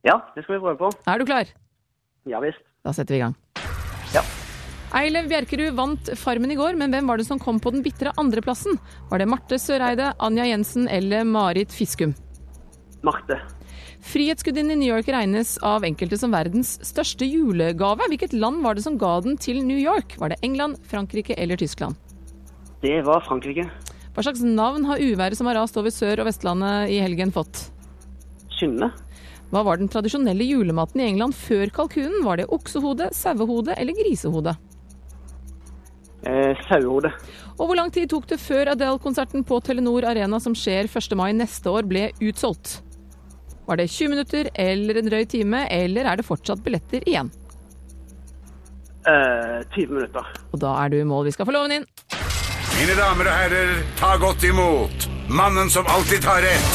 [SPEAKER 8] Ja, det skal vi prøve på.
[SPEAKER 2] Er du klar?
[SPEAKER 8] Ja visst.
[SPEAKER 2] Da setter vi i gang. Eilev Bjerkerud vant Farmen i går, men hvem var det som kom på den bitre andreplassen? Var det Marte Søreide, Anja Jensen eller Marit Fiskum?
[SPEAKER 8] Marte.
[SPEAKER 2] Frihetsgudinnen i New York regnes av enkelte som verdens største julegave. Hvilket land var det som ga den til New York? Var det England, Frankrike eller Tyskland?
[SPEAKER 8] Det var Frankrike.
[SPEAKER 2] Hva slags navn har uværet som har rast over Sør- og Vestlandet i helgen fått?
[SPEAKER 8] Synne.
[SPEAKER 2] Hva var den tradisjonelle julematen i England før kalkunen? Var det oksehode, sauehode eller grisehode?
[SPEAKER 8] Eh, Sauehode.
[SPEAKER 2] Og hvor lang tid tok det før Adele-konserten på Telenor Arena som skjer 1. mai neste år ble utsolgt? Var det 20 minutter eller en drøy time, eller er det fortsatt billetter igjen?
[SPEAKER 8] Eh, 20 minutter.
[SPEAKER 2] Og da er du i mål. Vi skal få loven inn.
[SPEAKER 6] Mine damer og herrer, ta godt imot mannen som alltid tar rett,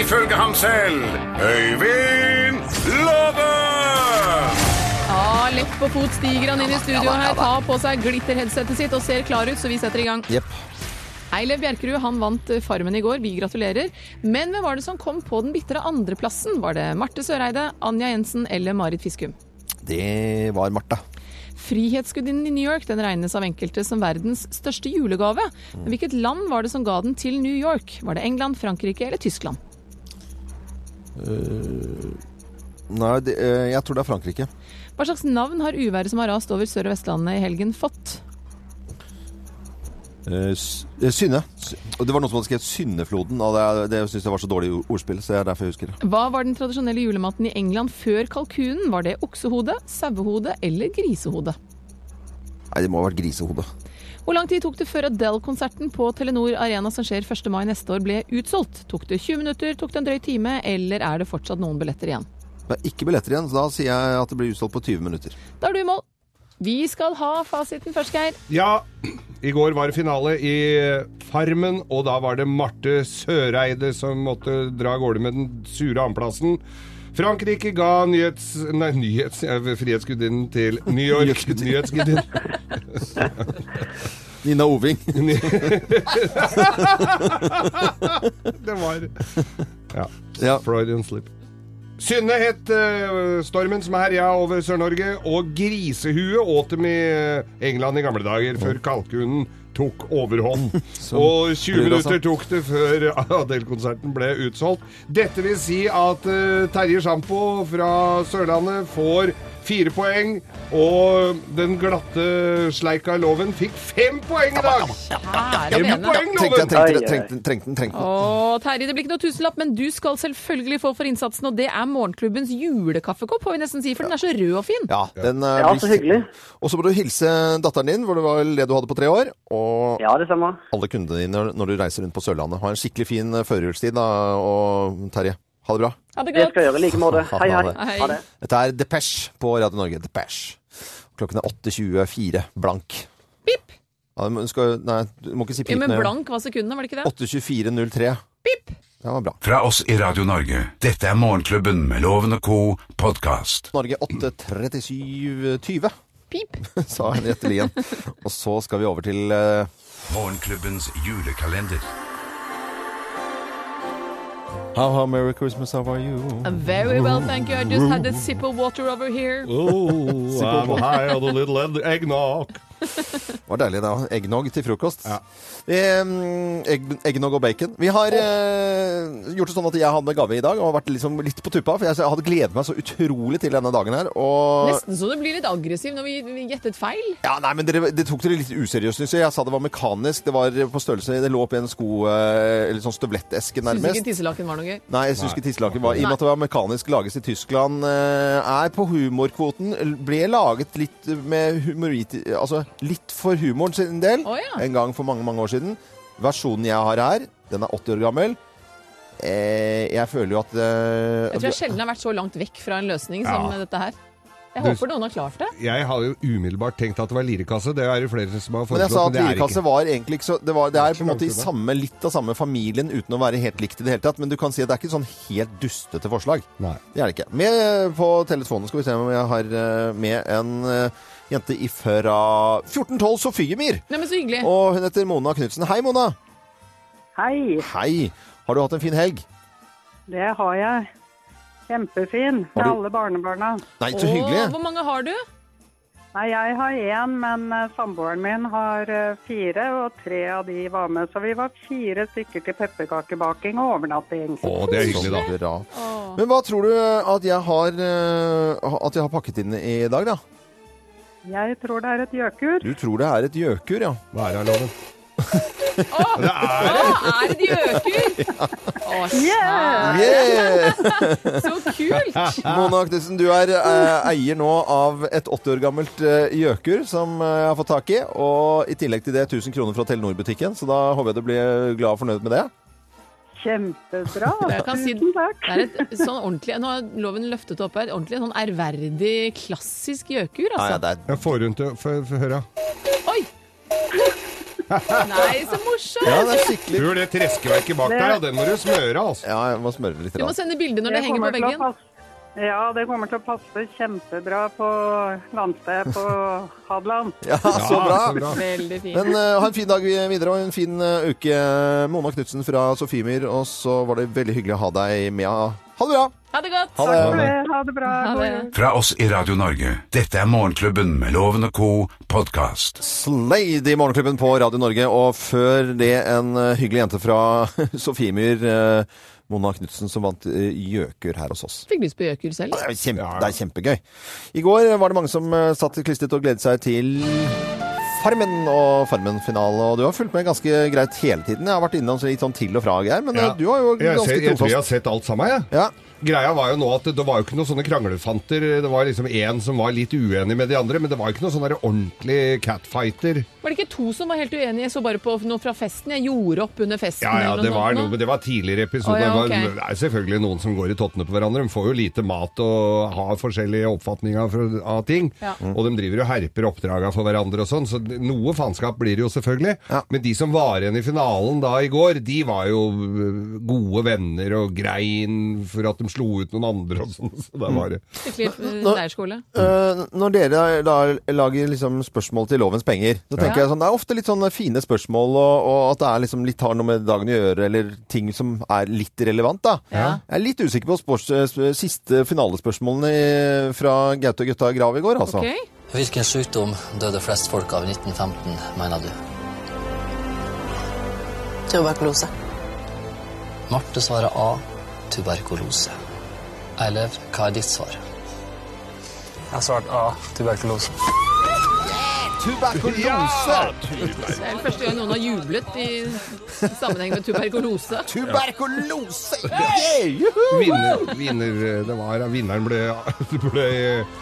[SPEAKER 6] ifølge ham selv, Øyvind Låve!
[SPEAKER 2] Ja, lett på fot stiger han inn i studio her, tar på seg glitterheadsetet sitt og ser klar ut, så vi setter i gang.
[SPEAKER 4] Jepp.
[SPEAKER 2] Eilev Bjerkerud han vant eh, Farmen i går, vi gratulerer. Men hvem var det som kom på den bitre andreplassen? Var det Marte Søreide, Anja Jensen eller Marit Fiskum?
[SPEAKER 4] Det var Martha.
[SPEAKER 2] Frihetsgudinnen i New York den regnes av enkelte som verdens største julegave. Men hvilket land var det som ga den til New York? Var det England, Frankrike eller Tyskland?
[SPEAKER 4] Eh, nei, det, eh, jeg tror det er Frankrike.
[SPEAKER 2] Hva slags navn har uværet som har rast over Sør- og Vestlandet i helgen fått?
[SPEAKER 4] Eh, S- eh, Synne. S- Og det var noen som hadde skrevet Synnefloden, og det, det syns jeg var så dårlig o- ordspill, så det er derfor jeg husker det.
[SPEAKER 2] Hva var den tradisjonelle julematen i England før kalkunen? Var det oksehode, sauehode eller grisehode?
[SPEAKER 4] Nei, det må ha vært grisehode.
[SPEAKER 2] Hvor lang tid tok det før Adele-konserten på Telenor Arena som skjer 1. mai neste år ble utsolgt? Tok det 20 minutter, tok det en drøy time, eller er det fortsatt noen billetter igjen?
[SPEAKER 4] Det er ikke billetter igjen, så da sier jeg at det blir utsolgt på 20 minutter.
[SPEAKER 2] Da er du i mål. Vi skal ha fasiten først, Geir.
[SPEAKER 3] Ja, i går var det finale i Farmen, og da var det Marte Søreide som måtte dra av gårde med den sure andreplassen. Frankrike ga nyhets... Nei, nyhets... eh, Frihetsgudinnen til New York. Nyhetsgudinnen.
[SPEAKER 4] Nina Oving.
[SPEAKER 3] Det var Ja.
[SPEAKER 4] Ja.
[SPEAKER 3] Freudian slip. Synne het eh, stormen som herja over Sør-Norge, og grisehue åt dem i eh, England i gamle dager, før kalkunen tok overhånd. Og 20
[SPEAKER 4] blir det altså.
[SPEAKER 3] minutter
[SPEAKER 4] sant.
[SPEAKER 3] tok det før Adele-konserten ble utsolgt. Dette vil si at eh, Terje Sjampo fra Sørlandet får fire poeng, og den glatte sleika Loven fikk fem poeng i dag!
[SPEAKER 2] Ære
[SPEAKER 3] Fem
[SPEAKER 2] vene.
[SPEAKER 3] poeng,
[SPEAKER 4] Tenkte jeg
[SPEAKER 3] Loven!
[SPEAKER 4] trengte,
[SPEAKER 8] Ai, ai.
[SPEAKER 4] trengte, trengte den, trengte den.
[SPEAKER 2] Å, Terje, det blir ikke noe tusenlapp, men du skal selvfølgelig få for innsatsen, og det er Morgenklubbens julekaffekopp, får vi nesten si, for den er så rød og fin.
[SPEAKER 4] Ja, den eh,
[SPEAKER 8] Ja,
[SPEAKER 4] blir-
[SPEAKER 8] så hyggelig.
[SPEAKER 4] Og så må du hilse datteren din, for det var vel det du hadde på tre år. Og
[SPEAKER 8] Ja, det samme.
[SPEAKER 4] alle kundene dine når du reiser rundt på Sørlandet. Ha en skikkelig fin eh, førjulstid, da, og Terje. Ha det bra.
[SPEAKER 2] Ha det
[SPEAKER 8] Det
[SPEAKER 2] godt.
[SPEAKER 8] skal jeg gjøre i like måte. Hei, hei.
[SPEAKER 2] Hei.
[SPEAKER 8] Ha det.
[SPEAKER 4] Dette er Depeche på Radio Norge. Depeche. Klokken er 8.24 blank.
[SPEAKER 2] Pip!
[SPEAKER 4] Ja, men du skal, nei, du må ikke si
[SPEAKER 2] Jo,
[SPEAKER 4] pip.
[SPEAKER 2] men blank var sekundene, var det ikke det?
[SPEAKER 4] 8.24,03.
[SPEAKER 2] Pip!
[SPEAKER 4] Det var bra.
[SPEAKER 6] Fra oss i Radio Norge, dette er Morgenklubben med Loven og co. podkast.
[SPEAKER 4] Norge 8.37,20,
[SPEAKER 2] Pip!
[SPEAKER 4] sa Henriette Lien. Og så skal vi over til eh,
[SPEAKER 6] Morgenklubbens julekalender.
[SPEAKER 4] How, how merry Christmas, how are you?
[SPEAKER 2] I'm very well, thank you. I just had a sip of water over here.
[SPEAKER 4] Oh, I'm high on a
[SPEAKER 3] little eggnog.
[SPEAKER 4] Det var deilig, da. Eggnog til frokost. Em, egg, eggnog og bacon. Vi har eh, gjort det sånn at jeg hadde gave i dag, og har vært liksom litt på tuppa. For jeg hadde gledet meg så utrolig til denne dagen her. Og
[SPEAKER 2] Nesten så du blir litt aggressiv når vi, vi gjettet feil.
[SPEAKER 4] Ja, nei, men dere, Det tok dere litt useriøst, syns jeg. Jeg sa det var mekanisk. Det var på størrelse Det lå oppi en sko... eh, Eller sånn støvletteske,
[SPEAKER 2] Syns du
[SPEAKER 4] nærmest.
[SPEAKER 2] ikke tisselaken var noe gøy?
[SPEAKER 4] Nei, jeg syns ikke tisselaken var I og med at det var mekanisk lages i Tyskland, eh, er på humorkvoten l- Ble laget litt med humorit... Altså litt for humoren sin del.
[SPEAKER 2] Å, ja.
[SPEAKER 4] En gang for mange, mange år siden. Versjonen jeg har her, den er 80 år gammel. Eh, jeg føler jo at eh,
[SPEAKER 2] Jeg tror jeg sjelden har vært så langt vekk fra en løsning som
[SPEAKER 3] Ja.
[SPEAKER 2] dette her. Jeg
[SPEAKER 3] Du-
[SPEAKER 2] håper noen har klart det.
[SPEAKER 3] Jeg har jo umiddelbart tenkt at det var lirekasse. Det er det flere som har
[SPEAKER 4] Men jeg sa
[SPEAKER 3] foreslått, men
[SPEAKER 4] at
[SPEAKER 3] det er det
[SPEAKER 4] lirekasse
[SPEAKER 3] ikke.
[SPEAKER 4] var egentlig ikke så Det, var, det er på en
[SPEAKER 3] langt
[SPEAKER 4] måte i
[SPEAKER 3] unna.
[SPEAKER 4] samme, litt av samme familien uten å være helt likt i det hele tatt. Men du kan si at det er ikke sånn helt dustete forslag.
[SPEAKER 3] Nei.
[SPEAKER 4] Det er det ikke. Med på telefonen skal vi se om jeg har eh, med en eh, jente ifra 1412, Sofiemyr.
[SPEAKER 2] Nei, men så hyggelig.
[SPEAKER 4] Og hun heter Mona Knutsen. Hei, Mona.
[SPEAKER 9] Hei.
[SPEAKER 4] Hei. Har du hatt en fin helg?
[SPEAKER 9] Det har jeg. Kjempefin. Med
[SPEAKER 4] Har du-
[SPEAKER 9] alle barnebarna.
[SPEAKER 4] Nei, så Åh, hyggelig. hvor
[SPEAKER 2] mange har du?
[SPEAKER 9] Nei, Jeg har én, men eh, samboeren min har eh, fire, og tre av de var med. Så vi var fire stykker til pepperkakebaking og overnatting.
[SPEAKER 3] Å, det er hyggelig, da.
[SPEAKER 4] Så bra. Men hva tror du at jeg har, eh, at jeg har pakket inn i dag, da?
[SPEAKER 9] Jeg tror det er et gjøkur.
[SPEAKER 4] Du tror det er et gjøkur, ja.
[SPEAKER 3] Hva er det, loven?
[SPEAKER 4] det er det!
[SPEAKER 2] Er det gjøker? Å, kjære.
[SPEAKER 4] Yeah!
[SPEAKER 2] Så kult!
[SPEAKER 4] Mona Knutsen, du er eh, eier nå av et 80 år gammelt eh, gjøkur som eh, jeg har fått tak i. Og i tillegg til det 1000 kroner fra Telenor-butikken, så da håper jeg du blir glad og fornøyd med det.
[SPEAKER 9] Kjempebra.
[SPEAKER 2] Jeg kan si, det er et sånn ordentlig, nå har loven løftet opp her, et ordentlig sånn ærverdig, klassisk gjøkur, altså.
[SPEAKER 3] Jeg får rundt det. Få få høre.
[SPEAKER 2] Oi! Nei, så morsomt!
[SPEAKER 3] Tror det treskeverket bak der, ja, den må du smøre, altså.
[SPEAKER 4] Ja, jeg må smøre litt.
[SPEAKER 2] Du må sende bilde når det, henger
[SPEAKER 9] kommer
[SPEAKER 2] på
[SPEAKER 9] til å
[SPEAKER 2] veggen.
[SPEAKER 9] passe- Ja, det kommer til å passe kjempebra på landstedet på Hadeland.
[SPEAKER 4] Ja, så bra!
[SPEAKER 2] Veldig fint.
[SPEAKER 4] Men eh, ha en fin dag videre og en fin eh, uke, Mona Knutsen fra Sofiemyr. Og så var det veldig hyggelig å ha deg med. Ha det bra!
[SPEAKER 2] Ha det godt!
[SPEAKER 4] Ha det. Takk for det.
[SPEAKER 9] Ha det bra.
[SPEAKER 2] Ha det.
[SPEAKER 6] Fra oss i Radio Norge. Dette er Morgenklubben med Loven og Co. podkast.
[SPEAKER 4] Slade i Morgenklubben på Radio Norge, og før det en eh, hyggelig jente fra Sofiemyr, eh, Mona Knutsen, som vant eh, gjøkur her hos oss.
[SPEAKER 2] Fikk lyst på gjøkur selv.
[SPEAKER 4] Det er, jo kjempe, det er kjempegøy. I går var det mange som eh, satt klistret og gledet seg til Farmen og Farmen-finale. Og du har fulgt med ganske greit hele tiden. Jeg har vært innom så litt sånn til og fra, Geir, men eh,
[SPEAKER 3] Ja.
[SPEAKER 4] du har jo
[SPEAKER 3] jeg,
[SPEAKER 4] ganske
[SPEAKER 3] ser, jeg tror jeg har
[SPEAKER 4] trofast.
[SPEAKER 3] sett alt sammen, jeg. Greia var jo nå at det, det var jo ikke noen sånne kranglefanter. Det var liksom én som var litt uenig med de andre, men det var jo ikke noen sånn der ordentlig catfighter.
[SPEAKER 2] Var det ikke to som var helt uenige? Jeg så bare på noe fra festen. Jeg gjorde opp under festen.
[SPEAKER 3] Ja, ja,
[SPEAKER 2] eller
[SPEAKER 3] det var,
[SPEAKER 2] sånt
[SPEAKER 3] noe,
[SPEAKER 2] nå.
[SPEAKER 3] men det var tidligere episoder.
[SPEAKER 2] Å, ja,
[SPEAKER 3] Det var-
[SPEAKER 2] ok.
[SPEAKER 3] Det er selvfølgelig noen som går i tottene på hverandre. De får jo lite mat og har forskjellige oppfatninger av- av ting.
[SPEAKER 10] Ja.
[SPEAKER 3] Og de driver og herper oppdraga for hverandre og sånn, så noe faenskap blir det jo selvfølgelig. Men de som var igjen i finalen da i går, de var jo øh, gode venner og grein for at de slo ut noen andre og sånn. Så det var det.
[SPEAKER 2] Skikkelig eh,
[SPEAKER 4] Nå-
[SPEAKER 2] leirskole.
[SPEAKER 4] Eh, når dere da lager liksom spørsmål til lovens penger, så tenker
[SPEAKER 2] Ja.
[SPEAKER 4] jeg sånn, det er ofte litt sånne fine spørsmål, og, og at det er liksom litt har noe med dagen å gjøre, eller ting som er litt relevant, da. Jeg er litt usikker på sports, eh, siste finalespørsmålene i- fra Gaute og gutta Grav i går, altså.
[SPEAKER 11] Hvilken sykdom døde flest folk av i 1915, mener du?
[SPEAKER 12] Tuberkulose.
[SPEAKER 11] Marte svarer A. Tuberkulose. Eilev, hva er ditt svar? Jeg har svart A. Tuberkulose.
[SPEAKER 4] Tuberkulose!
[SPEAKER 2] Ja, Det er første gang noen har jublet i sammenheng med tuberkulose.
[SPEAKER 4] Tuberkulose!
[SPEAKER 3] Vinner, vinner, det var, vinneren ble, ble øh,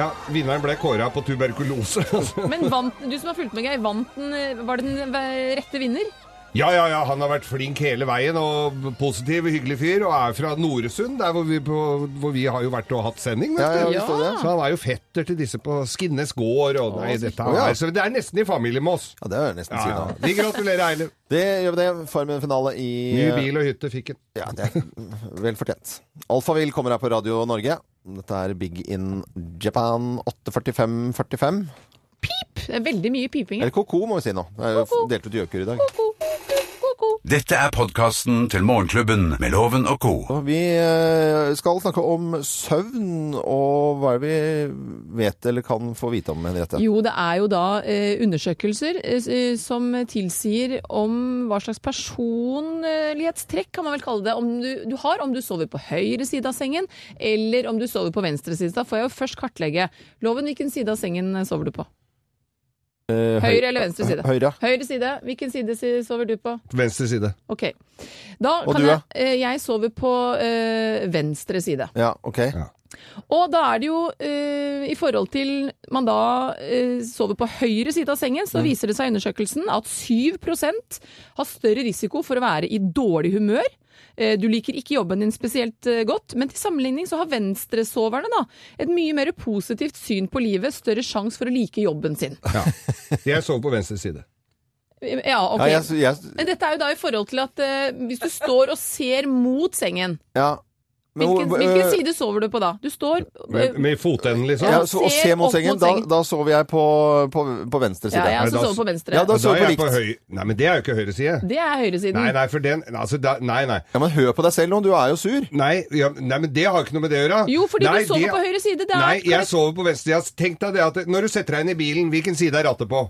[SPEAKER 3] Ja, vinneren ble kåra på tuberkulose.
[SPEAKER 2] Men vant, du som har fulgt med, Geir, vant den eh, Var det den eh, rette vinner?
[SPEAKER 3] Ja, ja, ja, han har vært flink hele veien og positiv, hyggelig fyr, og er fra Noresund, der hvor vi, på, hvor vi har jo vært og hatt sending, vet
[SPEAKER 4] Ja, ja,
[SPEAKER 3] du.
[SPEAKER 4] vi så det.
[SPEAKER 3] Så han er jo fetter til disse på Skinnes gård, og nei,
[SPEAKER 4] Å, så
[SPEAKER 3] dette
[SPEAKER 4] kult.
[SPEAKER 3] er, så det er nesten i familie med oss.
[SPEAKER 4] Ja, det er nesten siden av.
[SPEAKER 3] Vi gratulerer, Eilev.
[SPEAKER 4] Det gjør vi det. Farmen-finale i eh,
[SPEAKER 3] Ny bil og hytte fikk han.
[SPEAKER 4] Ja, det er vel fortjent. Alfavill kommer her på Radio Norge. Dette er Big in Japan 84545.
[SPEAKER 2] Det er veldig mye piping.
[SPEAKER 4] Eller ko-ko, må vi si nå. Det er jo
[SPEAKER 2] Ko-ko.
[SPEAKER 4] delt ut gjøkur i dag.
[SPEAKER 2] Ko-ko. Ko-ko.
[SPEAKER 6] Dette er podkasten til Morgenklubben med Loven og co.
[SPEAKER 4] Og Vi eh, skal snakke om søvn, og hva er det vi vet eller kan få vite om, Henriette?
[SPEAKER 2] Jo, det er jo da eh, undersøkelser eh, som tilsier om hva slags personlighetstrekk, kan man vel kalle det, om du, du har om du sover på høyre side av sengen, eller om du sover på venstre side. Da får jeg jo først kartlegge. Loven, hvilken side av sengen sover du på?
[SPEAKER 4] Eh, høy-
[SPEAKER 2] Høyre eller venstre side?
[SPEAKER 4] Høyre.
[SPEAKER 2] Høyre side. Hvilken side si- sover du på?
[SPEAKER 3] Venstre side.
[SPEAKER 2] Ok. Da
[SPEAKER 4] Og
[SPEAKER 2] kan
[SPEAKER 4] du,
[SPEAKER 2] jeg,
[SPEAKER 4] da?
[SPEAKER 2] eh, jeg sover på eh, venstre side.
[SPEAKER 4] Ja, ok.
[SPEAKER 2] Og da er det jo, eh, i forhold til man da eh, sover på høyre side av sengen, så viser det seg i undersøkelsen at 7 har større risiko for å være i dårlig humør. Eh, Du liker ikke jobben din spesielt eh, godt, men til sammenligning så har venstresoverne da et mye mer positivt syn på livet, større sjanse for å like jobben sin. Eh,
[SPEAKER 3] Ja. Jeg sover på venstre side.
[SPEAKER 2] Ja, ok.
[SPEAKER 4] Ja, jeg- jeg-
[SPEAKER 2] Men dette er jo da i forhold til at eh, hvis du står og ser mot sengen,
[SPEAKER 4] Ja. Men hvor-
[SPEAKER 2] hvilken, hvilken
[SPEAKER 4] eh,
[SPEAKER 2] side sover du på da? Du står eh,
[SPEAKER 3] Med, med fotenden, liksom?
[SPEAKER 4] Ja, så, og
[SPEAKER 2] ser
[SPEAKER 4] se mot
[SPEAKER 2] opp
[SPEAKER 4] sengen,
[SPEAKER 2] mot
[SPEAKER 4] da,
[SPEAKER 2] sengen.
[SPEAKER 4] da sover jeg på, på, på venstre side.
[SPEAKER 2] Ja, jeg også
[SPEAKER 3] Nei, da-
[SPEAKER 2] sover på venstre.
[SPEAKER 4] Ja, da sover
[SPEAKER 3] er
[SPEAKER 4] på
[SPEAKER 3] jeg
[SPEAKER 4] likt.
[SPEAKER 3] høy... Nei, men det er jo ikke høyre side.
[SPEAKER 2] Det er høyresiden.
[SPEAKER 3] Nei, nei, for den altså, da, Nei, nei.
[SPEAKER 4] Ja, Men hør på deg selv nå, du er jo sur.
[SPEAKER 3] Nei, ja, nei men det har ikke noe med det å gjøre.
[SPEAKER 2] Jo, fordi
[SPEAKER 3] nei,
[SPEAKER 2] du sover
[SPEAKER 3] det-
[SPEAKER 2] på høyre side. Det er
[SPEAKER 3] Nei, jeg
[SPEAKER 2] korrekt.
[SPEAKER 3] sover på venstre side. Tenk deg det at når du setter deg inn i bilen, hvilken side er rattet på?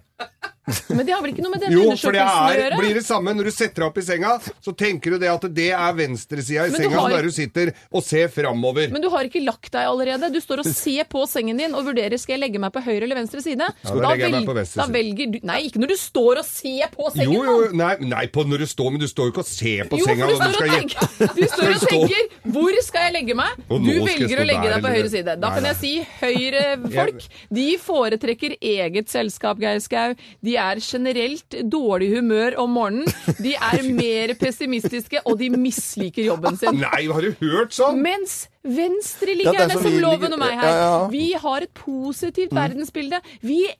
[SPEAKER 2] Men det har vel ikke noe med denne
[SPEAKER 3] Jo, for det
[SPEAKER 2] undersøkelsen å
[SPEAKER 3] er,
[SPEAKER 2] gjøre?
[SPEAKER 3] blir det samme når du setter deg opp i senga, så tenker du det at det er venstresida i
[SPEAKER 2] Men du
[SPEAKER 3] senga
[SPEAKER 2] har-
[SPEAKER 3] der du sitter og ser framover.
[SPEAKER 2] Men du har ikke lagt deg allerede. Du står og ser på sengen din og vurderer skal jeg legge meg på høyre eller venstre side.
[SPEAKER 3] Ja, da legger jeg meg på venstre
[SPEAKER 2] da
[SPEAKER 3] side.
[SPEAKER 2] velger du Nei, ikke når du står og ser på
[SPEAKER 3] Jo,
[SPEAKER 2] sengen!
[SPEAKER 3] jo,
[SPEAKER 2] mann.
[SPEAKER 3] nei, nei på når du står, men du står jo ikke og ser på
[SPEAKER 2] Jo,
[SPEAKER 3] senga
[SPEAKER 2] for
[SPEAKER 3] når
[SPEAKER 2] du
[SPEAKER 3] du
[SPEAKER 2] står
[SPEAKER 3] skal
[SPEAKER 2] og
[SPEAKER 3] hjem.
[SPEAKER 2] tenker, du står og tenker 'hvor skal jeg legge meg'?
[SPEAKER 3] Og nå skal
[SPEAKER 2] Du
[SPEAKER 3] jeg
[SPEAKER 2] velger
[SPEAKER 3] stå
[SPEAKER 2] å legge
[SPEAKER 3] der,
[SPEAKER 2] deg på
[SPEAKER 3] eller-
[SPEAKER 2] høyre side. Da
[SPEAKER 3] Nei,
[SPEAKER 2] kan
[SPEAKER 3] nei.
[SPEAKER 2] jeg si høyrefolk. De foretrekker eget selskap, Geir Skau. De er generelt dårlig humør om morgenen. De er mer pessimistiske, og de misliker jobben sin.
[SPEAKER 3] Nei, har du hørt sånn?
[SPEAKER 2] Mens venstre
[SPEAKER 3] Ja, det er
[SPEAKER 2] ligger
[SPEAKER 3] som
[SPEAKER 2] som
[SPEAKER 3] vi
[SPEAKER 2] loven
[SPEAKER 3] ligger-
[SPEAKER 2] og meg her.
[SPEAKER 3] Ja, ja. Mm.
[SPEAKER 2] Vi har et positivt verdensbilde. Vi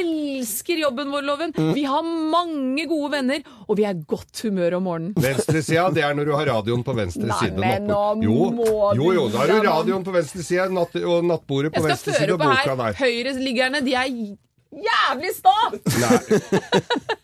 [SPEAKER 2] elsker jobben vår, Loven.
[SPEAKER 3] Mm.
[SPEAKER 2] Vi har mange gode venner, og vi er i godt humør om morgenen.
[SPEAKER 3] Venstresida, det er når du har radioen på venstre
[SPEAKER 2] Nei,
[SPEAKER 3] side.
[SPEAKER 2] men
[SPEAKER 3] nattbord-
[SPEAKER 2] nå
[SPEAKER 3] jo,
[SPEAKER 2] må
[SPEAKER 3] jo,
[SPEAKER 2] du
[SPEAKER 3] jo, da har
[SPEAKER 2] gi deg,
[SPEAKER 3] du radioen på venstre side natt, og nattbordet på
[SPEAKER 2] Jeg
[SPEAKER 3] venstre
[SPEAKER 2] skal
[SPEAKER 3] side
[SPEAKER 2] føre
[SPEAKER 3] og
[SPEAKER 2] på
[SPEAKER 3] boka
[SPEAKER 2] her.
[SPEAKER 3] der.
[SPEAKER 2] Høyreliggerne, de er jævlig sta!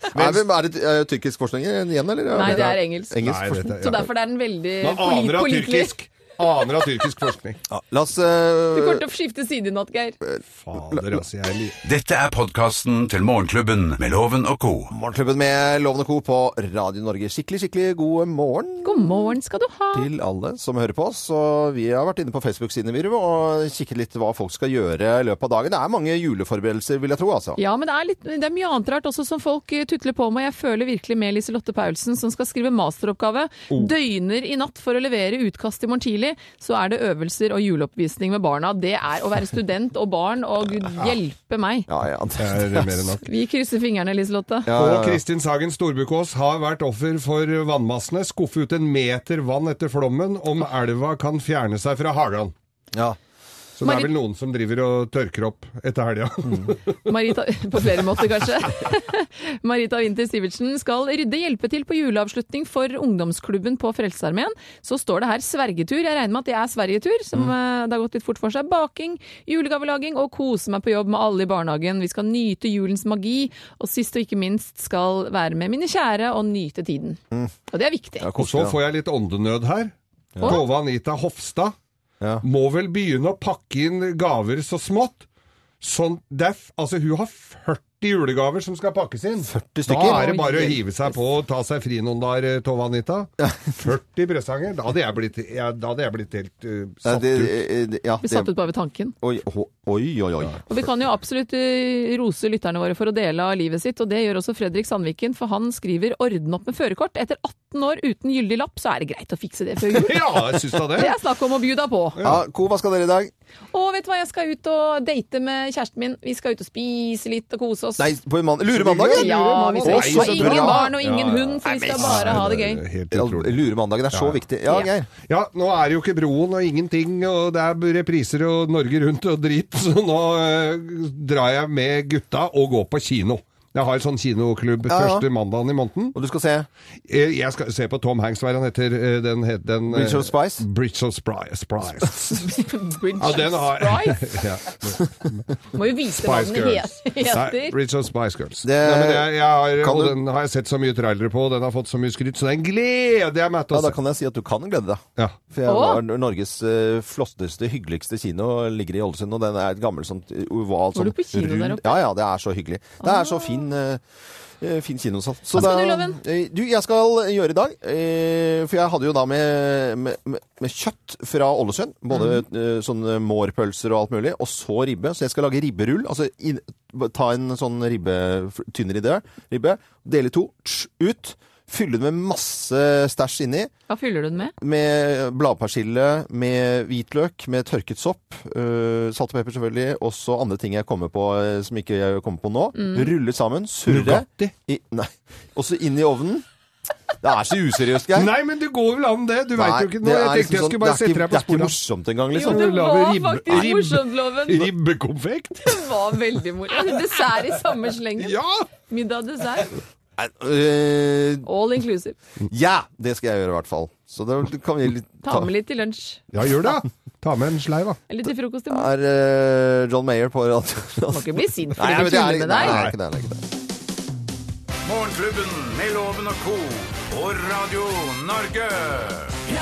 [SPEAKER 4] Er, vi- er det eh, tyrkisk forskning igjen, eller?
[SPEAKER 2] Nei, det er engelsk.
[SPEAKER 4] engelsk
[SPEAKER 3] Nei,
[SPEAKER 4] forskning.
[SPEAKER 3] dette-
[SPEAKER 2] Så derfor er den veldig
[SPEAKER 3] Man
[SPEAKER 2] polit-
[SPEAKER 3] aner av
[SPEAKER 2] pålitelig.
[SPEAKER 3] tyrkisk, aner av tyrkisk forskning.
[SPEAKER 4] Ja, La oss
[SPEAKER 2] Du kommer
[SPEAKER 4] eh,
[SPEAKER 2] til å skifte side i natt, Geir.
[SPEAKER 3] Fader, altså, jeg liker
[SPEAKER 6] Dette er podkasten til Morgenklubben med Loven og co.
[SPEAKER 4] Morgenklubben med Loven og Co. på Radio Norge. Skikkelig, skikkelig god morgen.
[SPEAKER 2] God morgen skal du ha.
[SPEAKER 4] til alle som hører på oss. Og vi har vært inne på Facebook-sidene Myhre, og kikket litt hva folk skal gjøre i løpet av dagen. Det er mange juleforberedelser, vil jeg tro. altså.
[SPEAKER 2] Ja, men det er, litt, det er mye annet rart også som folk eh, tutler på med. Jeg føler virkelig med Liselotte Paulsen som skal skrive masteroppgave. Døgner i natt for å levere utkast i morgen tidlig. Så er det øvelser og juleoppvisning med barna. Det er å være student og barn, og gud hjelpe meg.
[SPEAKER 4] Ja, ja, det,
[SPEAKER 3] det er mer enn nok.
[SPEAKER 2] Vi krysser fingrene, Liselotte.
[SPEAKER 3] Og Kristin Sagen Storbukås har vært offer for vannmassene. Skuffe ut en meter vann etter flommen om elva kan fjerne seg fra hagen.
[SPEAKER 4] Ja.
[SPEAKER 3] Så det
[SPEAKER 2] Marit-
[SPEAKER 3] er vel noen som driver og tørker opp etter helga.
[SPEAKER 2] Marita, på flere måter kanskje. Marita Winther Sivertsen skal rydde hjelpe til på juleavslutning for ungdomsklubben på Frelsesarmeen. Så står det her svergetur. Jeg regner med at det er svergetur, som eh, det har gått litt fort for seg. Baking, julegavelaging og kose meg på jobb med alle i barnehagen. Vi skal nyte julens magi, og sist og ikke minst skal være med mine kjære og nyte tiden. Og det er viktig.
[SPEAKER 3] Og så får jeg litt åndenød her. Tove Anita Hofstad må vel begynne å pakke inn gaver så smått. Sånn, det er f- altså, hun har 40 julegaver som skal pakkes inn.
[SPEAKER 4] stykker?
[SPEAKER 3] Da er det bare å hive seg på og ta seg fri noen dager, eh, Tove Anita. 40 presanger. Da hadde jeg blitt, ja, da hadde jeg blitt helt eh,
[SPEAKER 4] Nei,
[SPEAKER 3] satt
[SPEAKER 4] det,
[SPEAKER 3] ut.
[SPEAKER 4] eh, ja,
[SPEAKER 2] Vi
[SPEAKER 4] det-
[SPEAKER 2] satt ut bare ved tanken.
[SPEAKER 4] Oi, ho- oi, oi. oi.
[SPEAKER 2] Og vi kan jo absolutt eh, rose lytterne våre for å dele av livet sitt, og det gjør også Fredrik Sandviken, for han skriver 'orden opp med førerkort'. Etter 18 år uten gyldig lapp, så er det greit å fikse det før jul.
[SPEAKER 3] Ja, jeg syns da det.
[SPEAKER 2] Det er snakk om å by deg på.
[SPEAKER 4] Ja, Co, hva skal dere i dag?
[SPEAKER 2] Og vet du hva, jeg skal ut og date med kjæresten min. Vi skal ut og spise litt og kose oss.
[SPEAKER 4] Nei, på man Luremandagen?
[SPEAKER 2] Ja, vi skal
[SPEAKER 4] Å, så
[SPEAKER 2] ikke ha ingen
[SPEAKER 4] bra.
[SPEAKER 2] barn og ingen
[SPEAKER 4] Ja, ja.
[SPEAKER 2] hund, for
[SPEAKER 4] Nei,
[SPEAKER 2] vi skal
[SPEAKER 4] men-
[SPEAKER 2] bare ha det gøy.
[SPEAKER 3] Helt
[SPEAKER 4] Ja, Luremandagen er så viktig. Ja, Geir.
[SPEAKER 3] Ja, nå er det jo ikke broen og ingenting, og det er repriser og Norge Rundt og drit, så nå eh, drar jeg med gutta og går på kino. Det Jeg har sånn kinoklubb
[SPEAKER 4] Ja, ja.
[SPEAKER 3] første mandagen i måneden. Eh,
[SPEAKER 4] Og du skal se?
[SPEAKER 3] Jeg skal se på Tom Hanks, hva er han heter? Eh, Den, het- den, eh,
[SPEAKER 4] Bridge of Spice?
[SPEAKER 3] Bridge of Spri- Spice.
[SPEAKER 2] Bridge
[SPEAKER 3] Ja, den har
[SPEAKER 2] Spice.
[SPEAKER 3] Ja.
[SPEAKER 2] Må jo vise hva den
[SPEAKER 3] Girls.
[SPEAKER 2] he-
[SPEAKER 3] Nei,
[SPEAKER 2] heter.
[SPEAKER 3] Bridge of Spice Girls.
[SPEAKER 4] Det-
[SPEAKER 3] Nei, men jeg, jeg har,
[SPEAKER 4] Kan
[SPEAKER 3] og
[SPEAKER 4] du-
[SPEAKER 3] den har jeg sett så mye trailere på, og den har fått så mye skryt, så den gleder jeg meg til
[SPEAKER 4] Ja,
[SPEAKER 3] å
[SPEAKER 4] da
[SPEAKER 3] se.
[SPEAKER 4] kan jeg si at du kan glede deg.
[SPEAKER 3] Ja.
[SPEAKER 4] For jeg
[SPEAKER 3] Åh!
[SPEAKER 4] var Norges eh, flotteste, hyggeligste kino ligger i Ålesund, og den er et gammelt sånt eh, ovalt
[SPEAKER 2] Var du
[SPEAKER 4] sånn
[SPEAKER 2] på kino der oppe?
[SPEAKER 4] Ja, ja, det er så hyggelig. Det er så fin, eh, eh, fin kinosal. Så
[SPEAKER 2] Hva skal
[SPEAKER 4] da-
[SPEAKER 2] du, Loven?
[SPEAKER 4] Eh, Du, jeg skal gjøre i dag, eh, for jeg hadde jo da med, med, med- med kjøtt fra Ålesund, både
[SPEAKER 2] Mhm.
[SPEAKER 4] eh, sånne mårpølser og alt mulig, og så ribbe, så jeg skal lage ribberull, altså inn, ta en sånn ribbe, tynnere idé, ribbe, dele i to, tsj, ut, fylle det med masse stæsj inni,
[SPEAKER 2] Hva fyller du den med?
[SPEAKER 4] med bladpersille, med hvitløk, med tørket sopp, øh, salt og pepper selvfølgelig, og så andre ting jeg kommer på øh, som ikke jeg kommer på nå.
[SPEAKER 6] Mm.
[SPEAKER 4] Rulle sammen, surre. I, nei. Og så inn i ovnen. Det er så useriøst, Geir.
[SPEAKER 3] Nei, men det går vel an det. Du veit jo ikke noe. Jeg tenkte jeg skulle bare sette deg på
[SPEAKER 4] liksom- sånn- Det er ikke
[SPEAKER 3] sporet.
[SPEAKER 4] morsomt engang,
[SPEAKER 3] Jo,
[SPEAKER 4] liksom.
[SPEAKER 3] det var Lave ribbe-
[SPEAKER 2] Faktisk
[SPEAKER 3] ribbe-
[SPEAKER 2] morsomt, Loven.
[SPEAKER 3] Ribbekonfekt?
[SPEAKER 2] Det var veldig moro. Dessert i samme slengen. Middag og dessert.
[SPEAKER 4] Nei, øh,
[SPEAKER 2] All inclusive.
[SPEAKER 4] ja, det skal jeg gjøre i hvert fall. Så det kan vi litt
[SPEAKER 2] Ta med litt til lunsj.
[SPEAKER 3] Ja, gjør det. da. Ta med en sleiv, da.
[SPEAKER 2] Eller til frokost i
[SPEAKER 4] Er
[SPEAKER 2] morgen.
[SPEAKER 4] øh, John Mayer på radio? Må
[SPEAKER 2] ikke bli sint fordi vi tuller
[SPEAKER 4] Nei,
[SPEAKER 2] med
[SPEAKER 4] det er
[SPEAKER 2] deg.
[SPEAKER 4] ikke det. det er ikke det.
[SPEAKER 6] Morgenklubben med Loven og co. på Radio Norge.